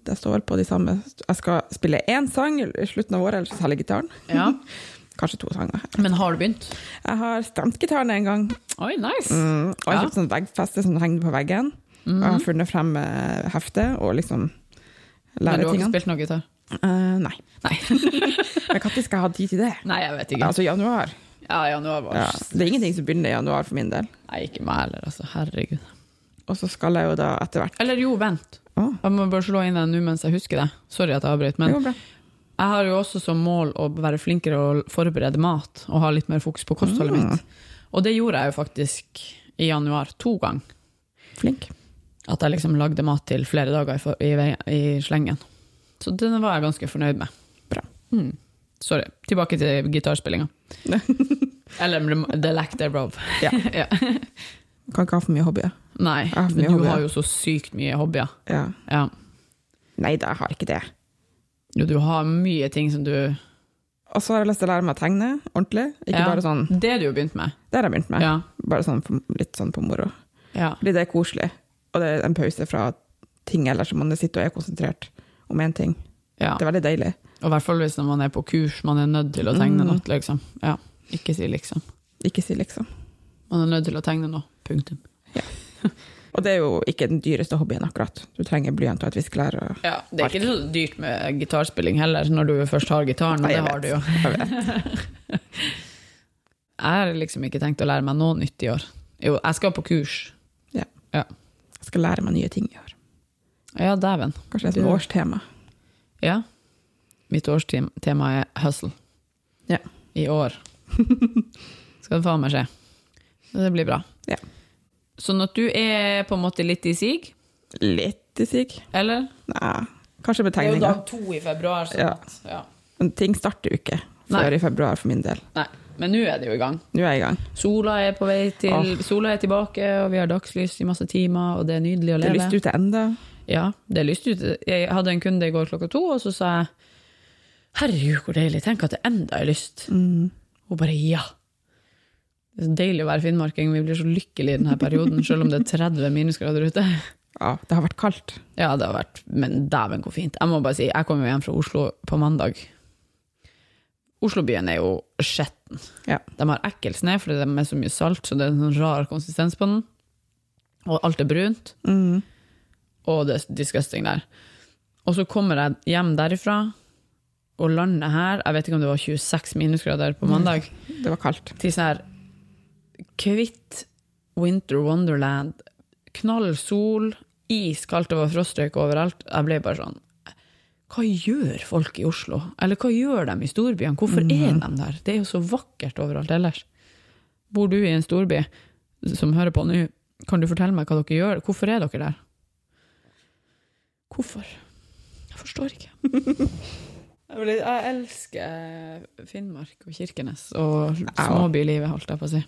[SPEAKER 3] det står på de samme. Jeg skal spille én sang i slutten av året, eller så selger jeg gitaren.
[SPEAKER 1] Ja.
[SPEAKER 3] Kanskje to sanger.
[SPEAKER 1] Men har du begynt?
[SPEAKER 3] Jeg har stemt gitaren en gang,
[SPEAKER 1] Oi, nice! Mhm.
[SPEAKER 3] mm, og jeg
[SPEAKER 1] Ja.
[SPEAKER 3] kjøpte sånn veggfeste som henger på veggen. Og jeg har funnet frem eh, heftet og liksom
[SPEAKER 1] Men
[SPEAKER 3] lærer
[SPEAKER 1] du har ikke
[SPEAKER 3] tingene.
[SPEAKER 1] spilt noe gitar?
[SPEAKER 3] Eh, nei.
[SPEAKER 1] Nei.
[SPEAKER 3] Men når skal jeg ha tid til det?
[SPEAKER 1] Nei, jeg vet ikke.
[SPEAKER 3] Altså januar.
[SPEAKER 1] Ja, januar var
[SPEAKER 3] Ja. Det er ingenting som begynner i januar for min del.
[SPEAKER 1] Nei, ikke meg heller, altså. Herregud.
[SPEAKER 3] Og så skal jeg jo da etter hvert
[SPEAKER 1] Eller jo, vent.
[SPEAKER 3] Å.
[SPEAKER 1] Jeg må bare slå inn den nå mens jeg husker det. Sorry at jeg avbrøt, men
[SPEAKER 3] Jo, bra.
[SPEAKER 1] Jeg har jo også som mål å være flinkere å forberede mat, og ha litt mer fokus på kostholdet
[SPEAKER 3] Mm, Ah.
[SPEAKER 1] mitt. Og det gjorde jeg jo faktisk i januar to ganger.
[SPEAKER 3] Flink.
[SPEAKER 1] At jeg liksom lagde mat til flere dager i, for, i, ve- i slengen. Så den var jeg ganske fornøyd med.
[SPEAKER 3] Bra.
[SPEAKER 1] Mm. Sorry. Tilbake til gitarspillinga. Eller rem- the lack thereof.
[SPEAKER 3] Ja.
[SPEAKER 1] Ja.
[SPEAKER 3] Kan ikke ha for mye hobbyer.
[SPEAKER 1] Nei,
[SPEAKER 3] har mye
[SPEAKER 1] men du
[SPEAKER 3] hobbyer.
[SPEAKER 1] har jo så sykt mye hobbyer.
[SPEAKER 3] Ja.
[SPEAKER 1] Ja.
[SPEAKER 3] Nei da, jeg har ikke det.
[SPEAKER 1] Jo, du har mye ting som du
[SPEAKER 3] Og så har jeg lyst til å lære meg å tegne ordentlig. Ikke
[SPEAKER 1] Ja.
[SPEAKER 3] bare sånn
[SPEAKER 1] Det du har begynt med.
[SPEAKER 3] Det har jeg begynt med.
[SPEAKER 1] Ja.
[SPEAKER 3] Bare sånn for, litt sånn på moro.
[SPEAKER 1] ja.
[SPEAKER 3] Fordi det er koselig. Og det er en pause fra ting ellers, så man sitter og er konsentrert om én ting.
[SPEAKER 1] ja.
[SPEAKER 3] Det er veldig deilig.
[SPEAKER 1] Og i hvert fall hvis når man er på kurs, man er nødt til å tegne
[SPEAKER 3] Mm.
[SPEAKER 1] noe, liksom. Ja, ikke si liksom.
[SPEAKER 3] Ikke si liksom.
[SPEAKER 1] Man er nødt til å tegne noe. Punktum.
[SPEAKER 3] Og det er jo ikke den dyreste hobbyen akkurat. Du trenger blyant og et viskelær. Og...
[SPEAKER 1] Ja, det er ikke så dyrt med gitarspilling heller, når du først har gitaren, men
[SPEAKER 3] Nei,
[SPEAKER 1] det
[SPEAKER 3] jeg
[SPEAKER 1] har
[SPEAKER 3] vet.
[SPEAKER 1] du jo.
[SPEAKER 3] Jeg vet.
[SPEAKER 1] Jeg har liksom ikke tenkt å lære meg noe nytt i år. Jo, jeg skal på kurs.
[SPEAKER 3] Jeg skal lære meg nye ting i år.
[SPEAKER 1] Ja, dæven.
[SPEAKER 3] Kanskje et
[SPEAKER 1] Du-
[SPEAKER 3] sånt årstema.
[SPEAKER 1] Ja. Mitt årstema er hustle.
[SPEAKER 3] Ja.
[SPEAKER 1] I år. Skal det faen meg skje. Så Det blir bra.
[SPEAKER 3] Ja.
[SPEAKER 1] Sånn at du er på en måte litt i sig,
[SPEAKER 3] Litt i sig.
[SPEAKER 1] eller?
[SPEAKER 3] Nei, kanskje med
[SPEAKER 1] Det er jo
[SPEAKER 3] tegninger.
[SPEAKER 1] dag to i februar, sånn
[SPEAKER 3] Ja.
[SPEAKER 1] at ja.
[SPEAKER 3] Men ting starter jo ikke
[SPEAKER 1] Nei.
[SPEAKER 3] før i februar for min del.
[SPEAKER 1] Nei, men nå er det jo i gang.
[SPEAKER 3] Nå er jeg i gang.
[SPEAKER 1] Sola er på vei til Sola er tilbake, og vi har dagslys i masse timer, og det er nydelig å
[SPEAKER 3] Det er
[SPEAKER 1] leve.
[SPEAKER 3] lyst ute enda.
[SPEAKER 1] Ja, det er lyst ute. Jeg hadde en kunde i går klokka to, og så sa jeg Herregud, hvor deilig. Tenk at det enda er lyst.
[SPEAKER 3] Mm.
[SPEAKER 1] Hun bare ja. Det er så deilig å være finnmarking. Vi blir så lykkelige i denne perioden, selv om det er 30 minusgrader ute.
[SPEAKER 3] Ja, det har vært kaldt.
[SPEAKER 1] Ja, det har vært Men dæven, hvor fint. Jeg må bare si, jeg kom jo hjem fra Oslo på mandag. Oslobyen er jo skjetten.
[SPEAKER 3] Ja.
[SPEAKER 1] De har ekkel snø fordi de er så mye salt, så det er en sånn rar konsistens på den. Og alt er brunt.
[SPEAKER 3] Mm.
[SPEAKER 1] Og det er disgusting der. Og så kommer jeg hjem derifra og lander her, jeg vet ikke om det var 26 minusgrader på mandag,
[SPEAKER 3] Det var kaldt.
[SPEAKER 1] til sånn her kvitt Winter Wonderland, knall sol, iskaldt, det var frostrøyk overalt. Jeg ble bare sånn Hva gjør folk i Oslo? Eller hva gjør de i storbyene? Hvorfor er de der? Det er jo så vakkert overalt ellers. Bor du i en storby som hører på nå, kan du fortelle meg hva dere gjør? Hvorfor er dere der? Hvorfor? Jeg forstår ikke. Jeg vil- Jeg elsker Finnmark og Kirkenes og småbylivet, holdt jeg på å si.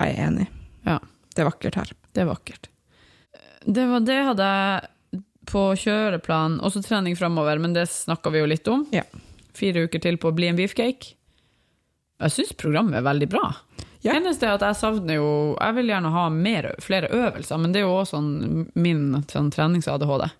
[SPEAKER 3] Jeg er enig.
[SPEAKER 1] Ja.
[SPEAKER 3] Det er vakkert her.
[SPEAKER 1] Det er vakkert. Det var det jeg hadde på kjøreplan, også trening framover, men det snakka vi jo litt om.
[SPEAKER 3] Ja.
[SPEAKER 1] Fire uker til på å bli en beefcake. Jeg syns programmet er veldig bra.
[SPEAKER 3] Ja.
[SPEAKER 1] Eneste er at jeg savner jo Jeg vil gjerne ha mer, flere øvelser, men det er jo også sånn min sånn trenings-ADHD.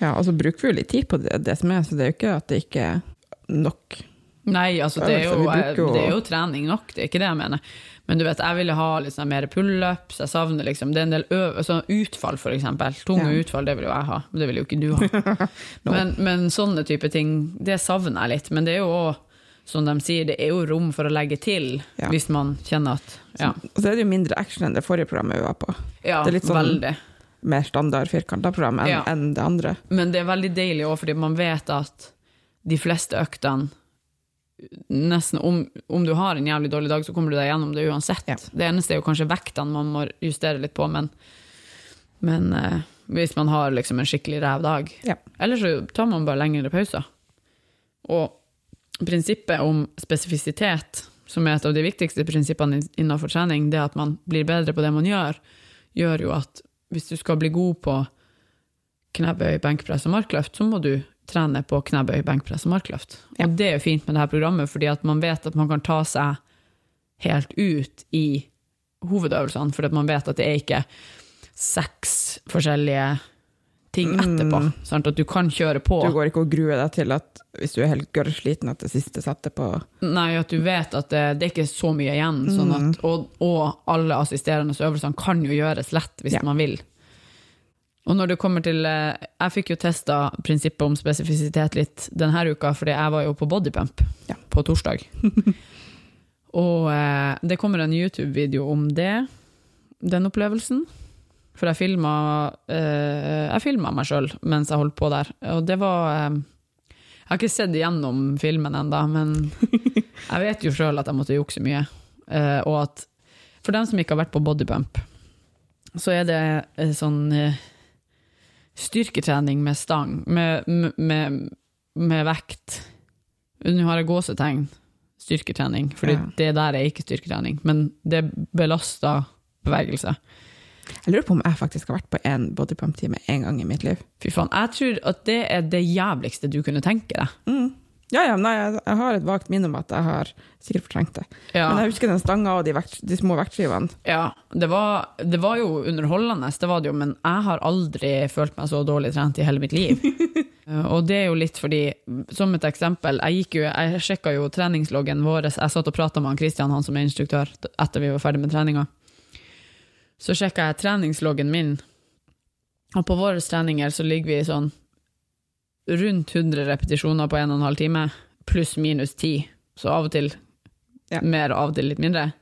[SPEAKER 3] Ja, og så bruker vi jo litt tid på det, det som er, så det er jo ikke at det ikke er nok.
[SPEAKER 1] Nei, altså det er, jo,
[SPEAKER 3] Øvelser, vi bruker jo-
[SPEAKER 1] det er jo trening nok, det er ikke det jeg mener. Men du vet, jeg ville ha litt sånn mer pullups, jeg savner liksom Det er en del øv sånn utfall, for eksempel. Tunge
[SPEAKER 3] Ja.
[SPEAKER 1] utfall, det vil jo jeg ha, men det vil jo ikke du ha.
[SPEAKER 3] No.
[SPEAKER 1] men, men sånne type ting, det savner jeg litt. Men det er jo òg, som de sier, det er jo rom for å legge til,
[SPEAKER 3] Ja.
[SPEAKER 1] hvis man kjenner at Ja,
[SPEAKER 3] Og så er det jo mindre action enn det forrige programmet vi var på.
[SPEAKER 1] ja
[SPEAKER 3] det er litt sånn-
[SPEAKER 1] veldig.
[SPEAKER 3] Mer standard firkanta program enn
[SPEAKER 1] Ja.
[SPEAKER 3] enn det andre.
[SPEAKER 1] Men det er veldig deilig òg, fordi man vet at de fleste øktene Nesten om, om du har en jævlig dårlig dag, så kommer du deg gjennom det uansett.
[SPEAKER 3] Ja.
[SPEAKER 1] Det eneste er jo kanskje vektene man må justere litt på, men, men eh, hvis man har liksom en skikkelig ræv dag
[SPEAKER 3] Ja.
[SPEAKER 1] Eller så tar man bare lengre pauser. Og prinsippet om spesifisitet, som er et av de viktigste prinsippene innenfor trening, det at man blir bedre på det man gjør, gjør jo at hvis du skal bli god på knebøy, benkpress og markløft, så må du trene på knebøy, benkpress og markløft. Og det er jo fint med det her programmet, fordi at man vet at man kan ta seg helt ut i hovedøvelsene, fordi at man vet at det er ikke seks forskjellige ting etterpå. Sant? At du kan kjøre på.
[SPEAKER 3] Du går ikke og gruer deg til at hvis du er helt gørrsliten at det siste setter på
[SPEAKER 1] Nei, at du vet at det, det er ikke så mye igjen.
[SPEAKER 3] Mm.
[SPEAKER 1] Sånn at, og, og alle assisterende øvelsene kan jo gjøres lett hvis
[SPEAKER 3] Ja.
[SPEAKER 1] man vil. Og når det kommer til eh, Jeg fikk jo testa prinsippet om spesifisitet litt denne uka, fordi jeg var jo på bodypump
[SPEAKER 3] Ja.
[SPEAKER 1] på torsdag. og eh, det kommer en YouTube-video om det, den opplevelsen. For jeg filma eh, Jeg filma meg sjøl mens jeg holdt på der, og det var eh, jeg har ikke sett igjennom filmen enda, men jeg vet jo sjøl at jeg måtte jukse mye. Eh, og at for dem som ikke har vært på bodypump, så er det eh, sånn eh, styrketrening med stang, med, med- med, med vekt. Nå har jeg gåsetegn, styrketrening, fordi
[SPEAKER 3] Ja.
[SPEAKER 1] det der er ikke styrketrening, men det belaster bevegelse.
[SPEAKER 3] Jeg lurer på om jeg faktisk har vært på en bodypump-time en gang i mitt liv.
[SPEAKER 1] Fy faen, jeg tror at det er det jævligste du kunne tenke deg.
[SPEAKER 3] Mm. Ja, ja, nei, jeg, jeg har et vagt minne om at jeg har sikkert fortrengt det.
[SPEAKER 1] Ja.
[SPEAKER 3] Men jeg husker den stanga og de, vekt, de små vektskivene.
[SPEAKER 1] Ja, det var, det var jo underholdende, det var det jo, men jeg har aldri følt meg så dårlig trent i hele mitt liv. Eh, og det er jo litt fordi, som et eksempel, jeg, gikk jo, jeg sjekka jo treningsloggen vår, jeg satt og prata med han Christian, han som er instruktør, etter vi var ferdig med treninga. Så sjekka jeg treningsloggen min, og på våre treninger så ligger vi sånn rundt 100 repetisjoner på 1 12 time, pluss minus 10, så av og til
[SPEAKER 3] Ja.
[SPEAKER 1] mer og av og til litt mindre.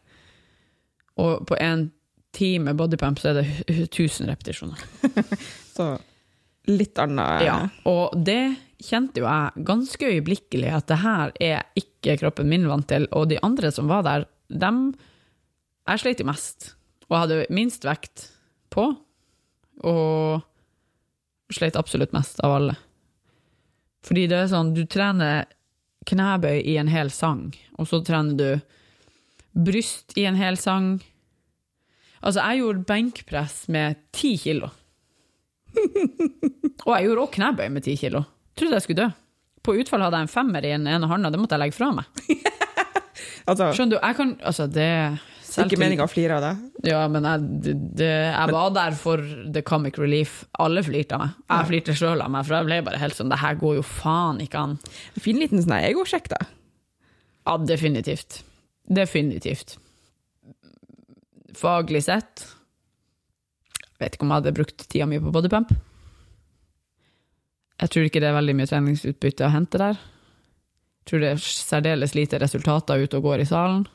[SPEAKER 1] Og på en time bodypump så er det 1000 repetisjoner.
[SPEAKER 3] Så litt annet eh,
[SPEAKER 1] Ja. Og det kjente jo jeg ganske øyeblikkelig, at det her er ikke kroppen min vant til. Og de andre som var der, dem Jeg sleit jo mest. Og hadde minst vekt på. Og sleit absolutt mest av alle. Fordi det er sånn, du trener knebøy i en hel sang, og så trener du bryst i en hel sang. Altså, jeg gjorde benkpress med ti kilo. Og jeg gjorde òg knebøy med ti kilo. Trodde jeg skulle dø. På utfall hadde jeg en femmer i den ene hånda, det måtte jeg legge fra meg.
[SPEAKER 3] Altså,
[SPEAKER 1] Skjønner du, jeg kan Altså, det
[SPEAKER 3] ikke meninga å flire av deg.
[SPEAKER 1] Ja, men jeg, det, det, jeg var der for the comic relief. Alle flirte av meg. Jeg flirte sjøl av meg, for jeg ble bare helt sånn Det her går jo faen ikke an.
[SPEAKER 3] Fin liten sånn her egosjekk, da.
[SPEAKER 1] Ja, definitivt. Definitivt. Faglig sett Vet ikke om jeg hadde brukt tida mi på bodypump. Jeg tror ikke det er veldig mye treningsutbytte å hente der. Jeg tror det er særdeles lite resultater ute
[SPEAKER 3] Mm.
[SPEAKER 1] og går i salen.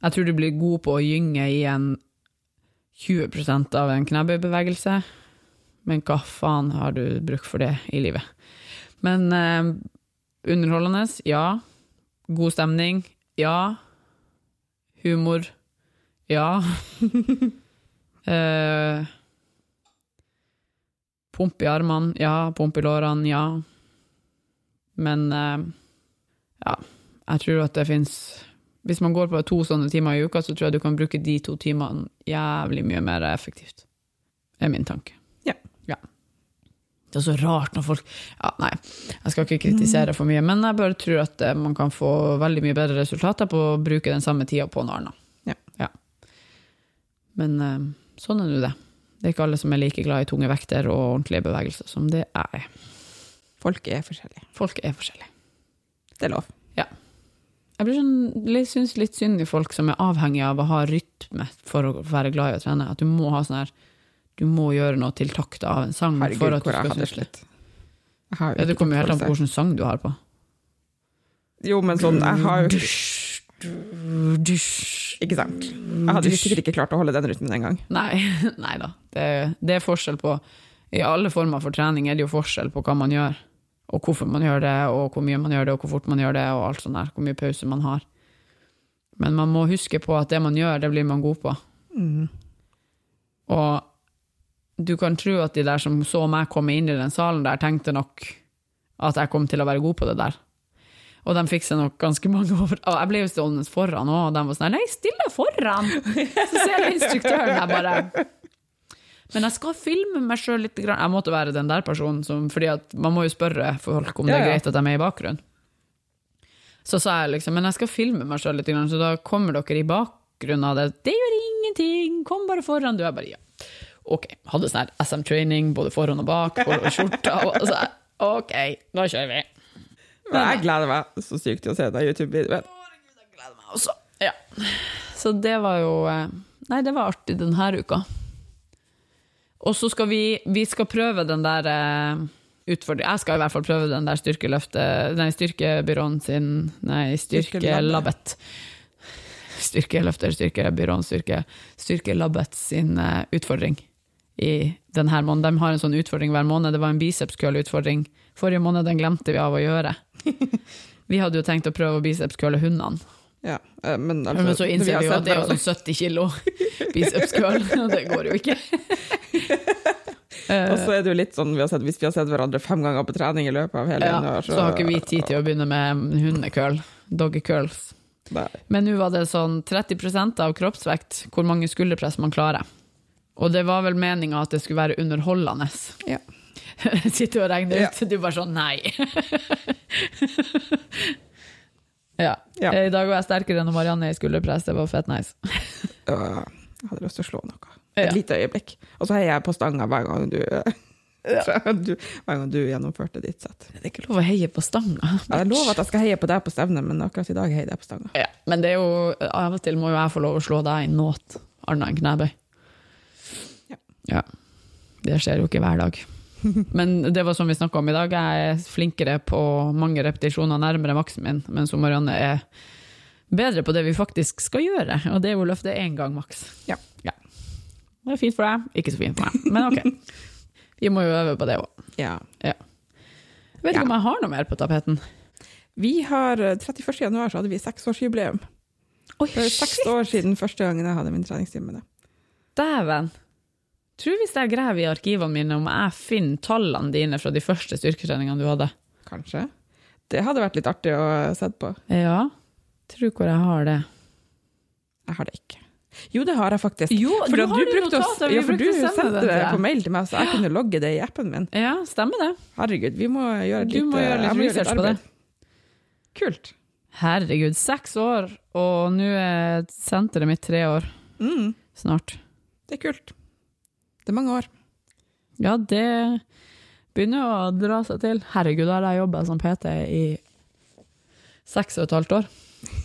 [SPEAKER 1] Jeg tror du blir god på å gynge i en 20 av en knebøybevegelse. Men hva faen har du bruk for det i livet? Men eh, underholdende, ja. God stemning, ja. Humor, ja. eh, pump i armene, ja. Pump i lårene, ja. Men eh, ja, jeg tror at det fins hvis man går på to sånne timer i uka, så tror jeg du kan bruke de to timene jævlig mye mer effektivt. Det er min tanke.
[SPEAKER 3] Ja.
[SPEAKER 1] Det er så rart når folk ja, Nei, jeg skal
[SPEAKER 3] Mm.
[SPEAKER 1] ikke kritisere for mye, men jeg bare tror at eh, man kan få veldig mye bedre resultater på å bruke den samme tida på noe annet.
[SPEAKER 3] Ja.
[SPEAKER 1] Men eh, sånn er nå det. Det er ikke alle som er like glad i tunge vekter og ordentlige bevegelser som det jeg er.
[SPEAKER 3] Folk er forskjellige.
[SPEAKER 1] Folk er forskjellige.
[SPEAKER 3] Det er lov.
[SPEAKER 1] Jeg blir sånn, litt- syns litt synd i folk som er avhengige av å ha rytme for å være glad i å trene. At du må ha sånn her Du må gjøre noe til takta av en sang
[SPEAKER 3] Herregud,
[SPEAKER 1] for at du
[SPEAKER 3] hvor jeg
[SPEAKER 1] skal
[SPEAKER 3] hadde
[SPEAKER 1] synes det.
[SPEAKER 3] slitt. Jeg har jo
[SPEAKER 1] Ja, det
[SPEAKER 3] ikke
[SPEAKER 1] kommer jo helt an på
[SPEAKER 3] toppfølelse.
[SPEAKER 1] hvilken sang du har på.
[SPEAKER 3] Jo, men sånn, jeg har jo
[SPEAKER 1] Dusj.
[SPEAKER 3] Ikke sant? Jeg hadde jo sikkert ikke klart å holde den rytmen engang.
[SPEAKER 1] Nei, nei da. Det, det er forskjell på I alle former for trening er det jo forskjell på hva man gjør, og hvorfor man gjør det, og hvor mye man gjør det, og hvor fort man gjør det, og alt sånt der. Hvor mye pause man har. Men man må huske på at det man gjør, det blir man god på. Og du kan tro at de der som så meg komme inn i den salen der, tenkte nok at jeg kom til å være god på det der. Og de fikk seg nok ganske mange over. Og jeg ble jo stående foran òg, og de var sånn Nei, stille foran! Så ser jeg instruktøren der bare Men jeg skal filme meg sjøl litt. Grann. Jeg måtte være den der personen, som, fordi at man må jo spørre folk om det
[SPEAKER 3] Ja,
[SPEAKER 1] er
[SPEAKER 3] ja.
[SPEAKER 1] greit at de er i bakgrunnen. Så sa jeg liksom Men jeg skal filme meg sjøl litt, grann, så da kommer dere i bakgrunnen av det. Det gjør ingenting, kom bare foran. Du er bare ja. Ok, hadde sånn her SM-training både foran og bak, på skjorta og så jeg, Ok, nå kjører vi.
[SPEAKER 3] Men jeg gleder meg så sykt til å se deg i YouTube-videoen.
[SPEAKER 1] Også. Ja. Så det var jo eh, Nei, det var artig denne uka. Og så skal vi, vi skal prøve den der eh, utfordring- Jeg skal i hvert fall prøve den der styrkeløftet Nei, styrkebyråen sin Nei, styrkelabbet. Styrkeløfter, styrkebyråen, styrke, styrkelabbet sin eh, utfordring i denne måneden. De har en sånn utfordring hver måned. Det var en bicepskøll-utfordring. Forrige måned den glemte vi av å gjøre. Vi hadde jo tenkt å prøve å bicepskølle hundene.
[SPEAKER 3] Ja, eh, men,
[SPEAKER 1] Ja,
[SPEAKER 3] altså,
[SPEAKER 1] Men så
[SPEAKER 3] vi
[SPEAKER 1] innser
[SPEAKER 3] har
[SPEAKER 1] vi jo
[SPEAKER 3] sett
[SPEAKER 1] at det er jo
[SPEAKER 3] hverandre.
[SPEAKER 1] sånn 70 kilo biceps curl, og det går jo ikke. Eh,
[SPEAKER 3] Og så er det jo litt sånn, vi har sett, hvis vi har sett hverandre fem ganger på trening i løpet av hele
[SPEAKER 1] Eh, ja,
[SPEAKER 3] januar,
[SPEAKER 1] så har ikke vi tid til å begynne med hundekøll, doggy curls.
[SPEAKER 3] Nei.
[SPEAKER 1] Men nå var det sånn 30 av kroppsvekt, hvor mange skulderpress man klarer. Og det var vel meninga at det skulle være underholdende.
[SPEAKER 3] Ja.
[SPEAKER 1] Sitter og regner ut, du bare sånn nei. ja.
[SPEAKER 3] Ja.
[SPEAKER 1] I dag var jeg sterkere enn Marianne i skulderpress, det var fett nice.
[SPEAKER 3] Øh, Jeg hadde lyst til å slå noe.
[SPEAKER 1] Ja.
[SPEAKER 3] Et lite øyeblikk. Og så heier jeg på stanga hver gang du, du, hver gang du gjennomførte ditt sett.
[SPEAKER 1] Det er ikke lov å heie på stanga.
[SPEAKER 3] Jeg lover at jeg skal heie på deg på stevnet, men akkurat i dag heier jeg på stanga.
[SPEAKER 1] Ja, men det er jo, av og til må jo jeg få lov å slå deg i nåt, annet enn knebøy.
[SPEAKER 3] Ja.
[SPEAKER 1] Ja. Det skjer jo ikke hver dag. Men det var som vi snakka om i dag, jeg er flinkere på mange repetisjoner nærmere maksen min, mens hun Marianne er bedre på det vi faktisk skal gjøre, og det er jo å løfte én gang maks.
[SPEAKER 3] Ja.
[SPEAKER 1] Det er fint for deg, ikke så fint for meg, men ok. Vi må jo øve på det òg.
[SPEAKER 3] Ja.
[SPEAKER 1] Jeg vet ikke om jeg har noe mer på tapeten.
[SPEAKER 3] Vi har, eh, 31. januar så hadde vi seksårsjubileum.
[SPEAKER 1] Oi,
[SPEAKER 3] Det er seks år siden første gangen jeg hadde min treningstime med deg.
[SPEAKER 1] Dæven! Tror hvis jeg graver i arkivene mine om jeg finner tallene dine fra de første styrketreningene du hadde.
[SPEAKER 3] Kanskje. Det hadde vært litt artig å eh, sett på.
[SPEAKER 1] Ja, tror hvor jeg har det.
[SPEAKER 3] Jeg har det ikke. Jo, det har jeg faktisk.
[SPEAKER 1] Jo,
[SPEAKER 3] For at du brukte oss, ja, for du sendte det på
[SPEAKER 1] meg.
[SPEAKER 3] mail til meg, så jeg kunne logge det i appen min.
[SPEAKER 1] Ja, stemmer det.
[SPEAKER 3] Herregud, vi må gjøre et
[SPEAKER 1] Du må gjøre litt
[SPEAKER 3] jeg må
[SPEAKER 1] research på det.
[SPEAKER 3] arbeid. Kult.
[SPEAKER 1] Herregud, seks år, og nå er senteret mitt tre år
[SPEAKER 3] Mm,
[SPEAKER 1] snart.
[SPEAKER 3] det er kult. Det er mange år.
[SPEAKER 1] Ja, det begynner å dra seg til. Herregud, da har jeg jobba som PT i seks og et halvt år.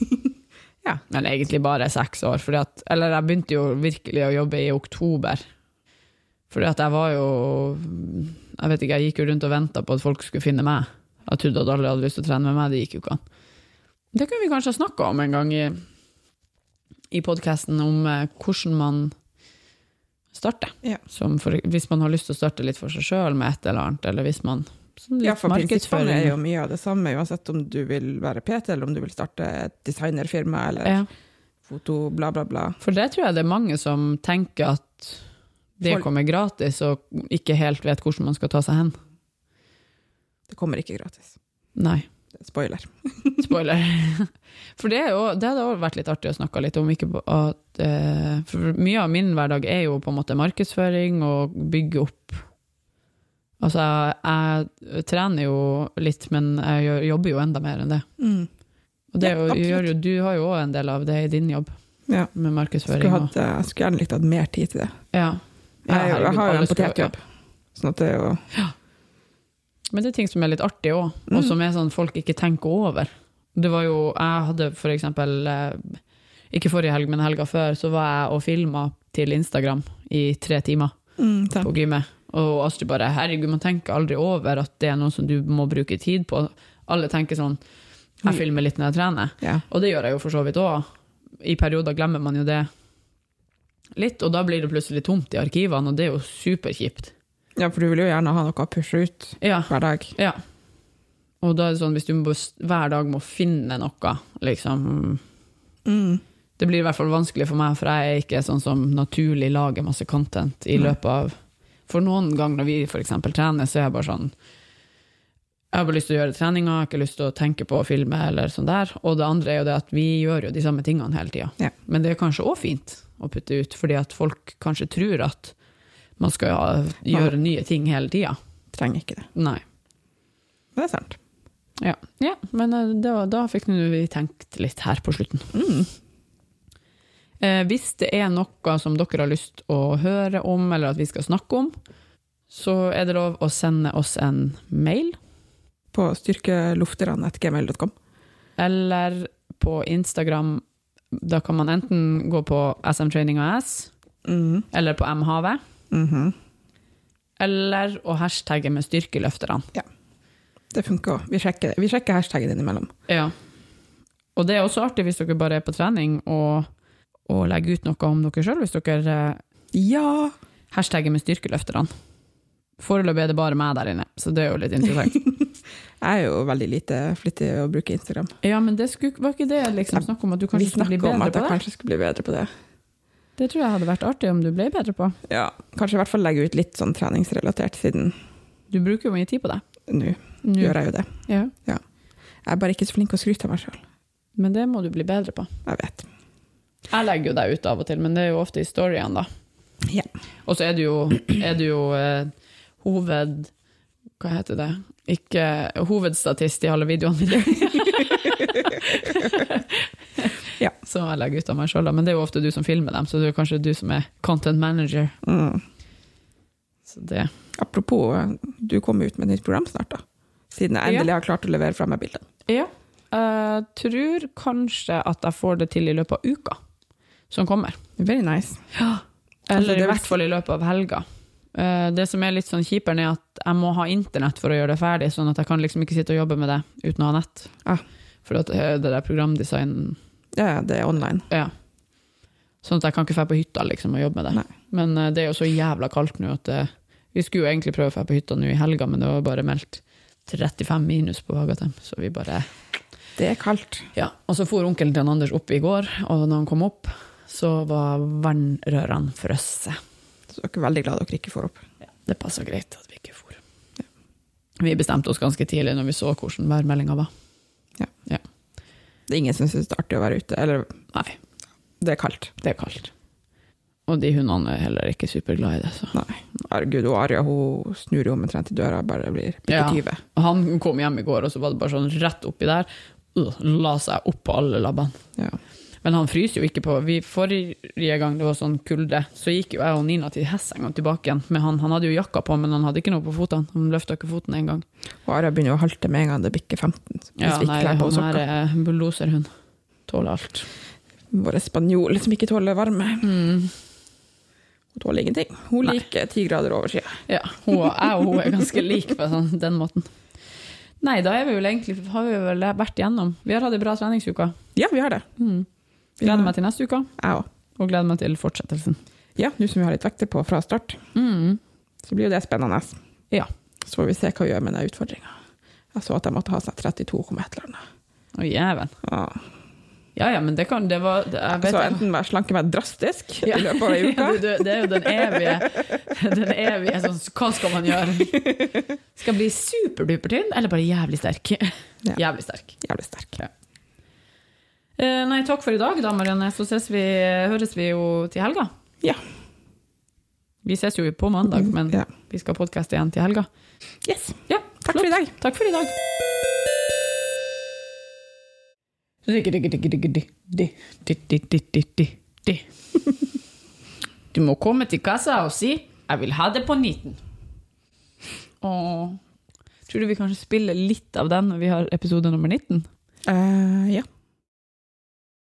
[SPEAKER 3] Ja.
[SPEAKER 1] Men egentlig bare seks år. Fordi at, eller jeg begynte jo virkelig å jobbe i oktober. Fordi at jeg var jo Jeg vet ikke, jeg gikk jo rundt og venta på at folk skulle finne meg. Jeg trodde at alle hadde lyst til å trene med meg, det gikk jo ikke an. Det kunne vi kanskje ha snakka om en gang i, i podkasten, om eh, hvordan man starte.
[SPEAKER 3] Ja.
[SPEAKER 1] Som for, hvis man har lyst til å starte litt for seg sjøl med et eller annet, eller hvis man som litt
[SPEAKER 3] Ja, for prinsippene
[SPEAKER 1] markedsføring.
[SPEAKER 3] er jo mye av det samme, uansett om du vil være PT, eller om du vil starte et designerfirma, eller
[SPEAKER 1] Ja,
[SPEAKER 3] foto, bla, bla, bla.
[SPEAKER 1] for det tror jeg det er mange som tenker at det
[SPEAKER 3] Folk-
[SPEAKER 1] kommer gratis, og ikke helt vet hvordan man skal ta seg hen.
[SPEAKER 3] Det kommer ikke gratis.
[SPEAKER 1] Nei.
[SPEAKER 3] Det er Spoiler.
[SPEAKER 1] Spoiler. For det, er jo, det hadde også vært litt artig å snakke litt om. Ikke på- at, eh, for mye av min hverdag er jo på en måte markedsføring og bygge opp Altså, jeg, jeg trener jo litt, men jeg gjør, jobber jo enda mer enn det. Og det
[SPEAKER 3] Ja,
[SPEAKER 1] jo-
[SPEAKER 3] absolutt.
[SPEAKER 1] gjør jo, du har jo òg en del av det i din jobb,
[SPEAKER 3] Ja.
[SPEAKER 1] med markedsføring.
[SPEAKER 3] Skulle
[SPEAKER 1] Og,
[SPEAKER 3] hatt, jeg skulle gjerne likt hatt mer tid til det.
[SPEAKER 1] ja. Ja,
[SPEAKER 3] Jeg,
[SPEAKER 1] herregud,
[SPEAKER 3] jeg har
[SPEAKER 1] alle
[SPEAKER 3] jo en
[SPEAKER 1] skulle-
[SPEAKER 3] potetjobb, sånn at det er jo
[SPEAKER 1] Men det er ting som er litt artig òg, og som er sånn folk ikke tenker over. Det var jo, Jeg hadde for eksempel eh, Ikke forrige helg, men helga før, så var jeg og filma til Instagram i tre timer
[SPEAKER 3] mm, sant.
[SPEAKER 1] på gymmet. Og Astrid bare 'herregud, man tenker aldri over at det er noe som du må bruke tid på'. Alle tenker sånn 'jeg filmer litt når jeg trener'.
[SPEAKER 3] Ja.
[SPEAKER 1] Og det gjør jeg jo for så vidt òg. I perioder glemmer man jo det litt, og da blir det plutselig tomt i arkivene, og det er jo superkjipt.
[SPEAKER 3] ja, for du vil jo gjerne ha noe å pushe ut
[SPEAKER 1] Ja.
[SPEAKER 3] hver dag.
[SPEAKER 1] Ja. Og da er det sånn, hvis du må, hver dag må finne noe, liksom Det blir i hvert fall vanskelig for meg, for jeg er ikke sånn som naturlig lager masse content i løpet av For noen ganger når vi f.eks. trener, så er jeg bare sånn Jeg har bare lyst til å gjøre treninga, jeg har ikke lyst til å tenke på å filme eller sånn der. Og det andre er jo det at vi gjør jo de samme tingene hele tida.
[SPEAKER 3] Ja.
[SPEAKER 1] Men det er kanskje òg fint å putte ut, fordi at folk kanskje tror at man skal ja, gjøre nye ting hele tida.
[SPEAKER 3] Trenger ikke det.
[SPEAKER 1] Nei.
[SPEAKER 3] Men det er sant.
[SPEAKER 1] Ja, ja men eh, da, da fikk nå vi tenkt litt her på slutten.
[SPEAKER 3] Mm.
[SPEAKER 1] Eh, hvis det er noe som dere har lyst å høre om, eller at vi skal snakke om, så er det lov å sende oss en mail,
[SPEAKER 3] På styrkelofterne.gmail.com.
[SPEAKER 1] eller på Instagram. Da kan man enten gå på SM Training AS,
[SPEAKER 3] Mm.
[SPEAKER 1] eller på MHV,
[SPEAKER 3] Mhm.
[SPEAKER 1] eller å hashtagge med styrkeløfterne.
[SPEAKER 3] Det funker òg. Vi, sjekker- vi sjekker hashtaggen innimellom.
[SPEAKER 1] Ja. Og det er også artig hvis dere bare er på trening og, og legger ut noe om dere sjøl, hvis dere eh,
[SPEAKER 3] Ja!
[SPEAKER 1] hashtagger med styrkeløfterne. Foreløpig er det bare meg der inne, så det er jo litt interessant.
[SPEAKER 3] Jeg er jo veldig lite flittig å bruke Instagram.
[SPEAKER 1] Ja, men det skulle, var ikke det liksom snakk om at du
[SPEAKER 3] Vi
[SPEAKER 1] kanskje skulle bli
[SPEAKER 3] snakker om
[SPEAKER 1] bedre
[SPEAKER 3] at
[SPEAKER 1] på
[SPEAKER 3] jeg
[SPEAKER 1] det?
[SPEAKER 3] kanskje skulle bli bedre på det.
[SPEAKER 1] Det tror jeg hadde vært artig om du ble bedre på.
[SPEAKER 3] Ja, Kanskje i hvert fall legge ut litt sånn treningsrelatert, siden
[SPEAKER 1] Du bruker jo mye tid på det.
[SPEAKER 3] nå gjør jeg jo det.
[SPEAKER 1] Ja.
[SPEAKER 3] Jeg er bare ikke så flink til å skryte av meg sjøl.
[SPEAKER 1] Men det må du bli bedre på.
[SPEAKER 3] Jeg vet.
[SPEAKER 1] Jeg legger jo deg ut av og til, men det er jo ofte i storyen, da.
[SPEAKER 3] Ja.
[SPEAKER 1] Og så er du jo, er du jo eh, hoved... Hva heter det? Ikke hovedstatist i alle videoene mine.
[SPEAKER 3] Ja.
[SPEAKER 1] Så jeg legger ut av meg sjøl, da. Men det er jo ofte du som filmer dem, så det er jo kanskje du som er content manager.
[SPEAKER 3] Mm.
[SPEAKER 1] Så det
[SPEAKER 3] Apropos, du kommer ut med et nytt program snart, da. Siden jeg
[SPEAKER 1] Ja.
[SPEAKER 3] endelig har klart å levere fra meg bildene.
[SPEAKER 1] Ja. Jeg tror kanskje at jeg får det til i løpet av uka som kommer.
[SPEAKER 3] Very nice. Altså,
[SPEAKER 1] Eller
[SPEAKER 3] det
[SPEAKER 1] i
[SPEAKER 3] vil
[SPEAKER 1] hvert
[SPEAKER 3] si-
[SPEAKER 1] fall i løpet av helga. Eh, Det som er litt sånn kjiperen, er at jeg må ha internett for å gjøre det ferdig, sånn at jeg kan liksom ikke sitte og jobbe med det uten å ha nett.
[SPEAKER 3] Ah.
[SPEAKER 1] For at eh, det der programdesign
[SPEAKER 3] Ja, ja, det er online.
[SPEAKER 1] Ja. Sånn at jeg kan ikke dra på hytta liksom, og jobbe med det.
[SPEAKER 3] Nei.
[SPEAKER 1] Men eh, det er jo så jævla kaldt nå at eh, vi skulle jo egentlig prøve å dra på hytta nå i helga, men det var bare meldt 35 minus på Hagatem, så vi bare
[SPEAKER 3] Det er kaldt.
[SPEAKER 1] Ja, og så for onkelen til han Anders opp i går, og når han kom opp, så var vannrørene frosset.
[SPEAKER 3] Så dere er veldig glad dere ikke får opp.
[SPEAKER 1] Det passa greit at vi ikke for. Vi bestemte oss ganske tidlig når vi så hvordan værmeldinga var.
[SPEAKER 3] Det er ingen som syns det er artig å være ute. Eller,
[SPEAKER 1] Nei,
[SPEAKER 3] det er kaldt.
[SPEAKER 1] det er kaldt. Og de hundene er heller ikke superglad i det. Så.
[SPEAKER 3] Nei. Herregud, og Arja hun snur jo omtrent i døra og bare blir
[SPEAKER 1] Ja.
[SPEAKER 3] bitte 20.
[SPEAKER 1] Han kom hjem i går, og så var det bare sånn rett oppi der. øh, La seg opp på alle labbene.
[SPEAKER 3] Ja.
[SPEAKER 1] Men han fryser jo ikke på vi, Forrige gang det var sånn kulde, så gikk jo jeg og Nina til Hesseng og tilbake igjen. Men han, han hadde jo jakka på, men han hadde ikke noe på fotene. Han løfta ikke foten engang.
[SPEAKER 3] Og Arja begynner å halte med en gang det bikker 15. Hvis
[SPEAKER 1] Ja,
[SPEAKER 3] vi
[SPEAKER 1] nei,
[SPEAKER 3] ikke kler på
[SPEAKER 1] han
[SPEAKER 3] oss
[SPEAKER 1] her
[SPEAKER 3] sokker.
[SPEAKER 1] er eh, en bulldoserhund. Tåler alt.
[SPEAKER 3] Vår spanjol som ikke tåler varme. Hun tåler ingenting. Hun
[SPEAKER 1] Nei.
[SPEAKER 3] liker ti grader over sida.
[SPEAKER 1] Ja, hun, og- jeg og hun er ganske like på sånn, den måten. Nei, da er vi vel egentlig, har vi vel vært igjennom. Vi har hatt en bra treningsuke. Mm.
[SPEAKER 3] Ja, vi har det.
[SPEAKER 1] Gleder meg til neste uke,
[SPEAKER 3] Jeg òg.
[SPEAKER 1] og gleder meg til fortsettelsen.
[SPEAKER 3] Ja, nå som vi har litt vekter på fra start,
[SPEAKER 1] Mm.
[SPEAKER 3] så blir jo det spennende.
[SPEAKER 1] Ja.
[SPEAKER 3] Så får vi se hva vi gjør med den utfordringa. Jeg så at jeg måtte ha sånn seg 32,1 eller annet.
[SPEAKER 1] Å, jæven.
[SPEAKER 3] Ja.
[SPEAKER 1] Ja, ja, men det kan Det var det, jeg vet
[SPEAKER 3] Så
[SPEAKER 1] ikke.
[SPEAKER 3] enten må jeg slanke meg drastisk
[SPEAKER 1] Ja.
[SPEAKER 3] i løpet av ei
[SPEAKER 1] Du,
[SPEAKER 3] uke,
[SPEAKER 1] du, det er jo den evige, den evige sånn, Hva skal man gjøre? Skal jeg bli superduper tynn, eller bare jævlig sterk?
[SPEAKER 3] Ja.
[SPEAKER 1] Jævlig sterk.
[SPEAKER 3] jævlig sterk.
[SPEAKER 1] Eh, nei, takk for i dag, da, Marianne. Så ses vi, eh, høres vi jo til helga.
[SPEAKER 3] Ja.
[SPEAKER 1] Vi ses jo på mandag, men
[SPEAKER 3] Ja.
[SPEAKER 1] vi skal podkaste igjen til helga.
[SPEAKER 3] Yes.
[SPEAKER 1] Ja,
[SPEAKER 3] Takk for i dag.
[SPEAKER 1] Takk for i dag. Du må komme til kassa og si 'jeg vil ha det på 19'. Åh. Tror du vi kanskje spiller litt av den når vi har episode nummer 19?
[SPEAKER 3] Eh, ja.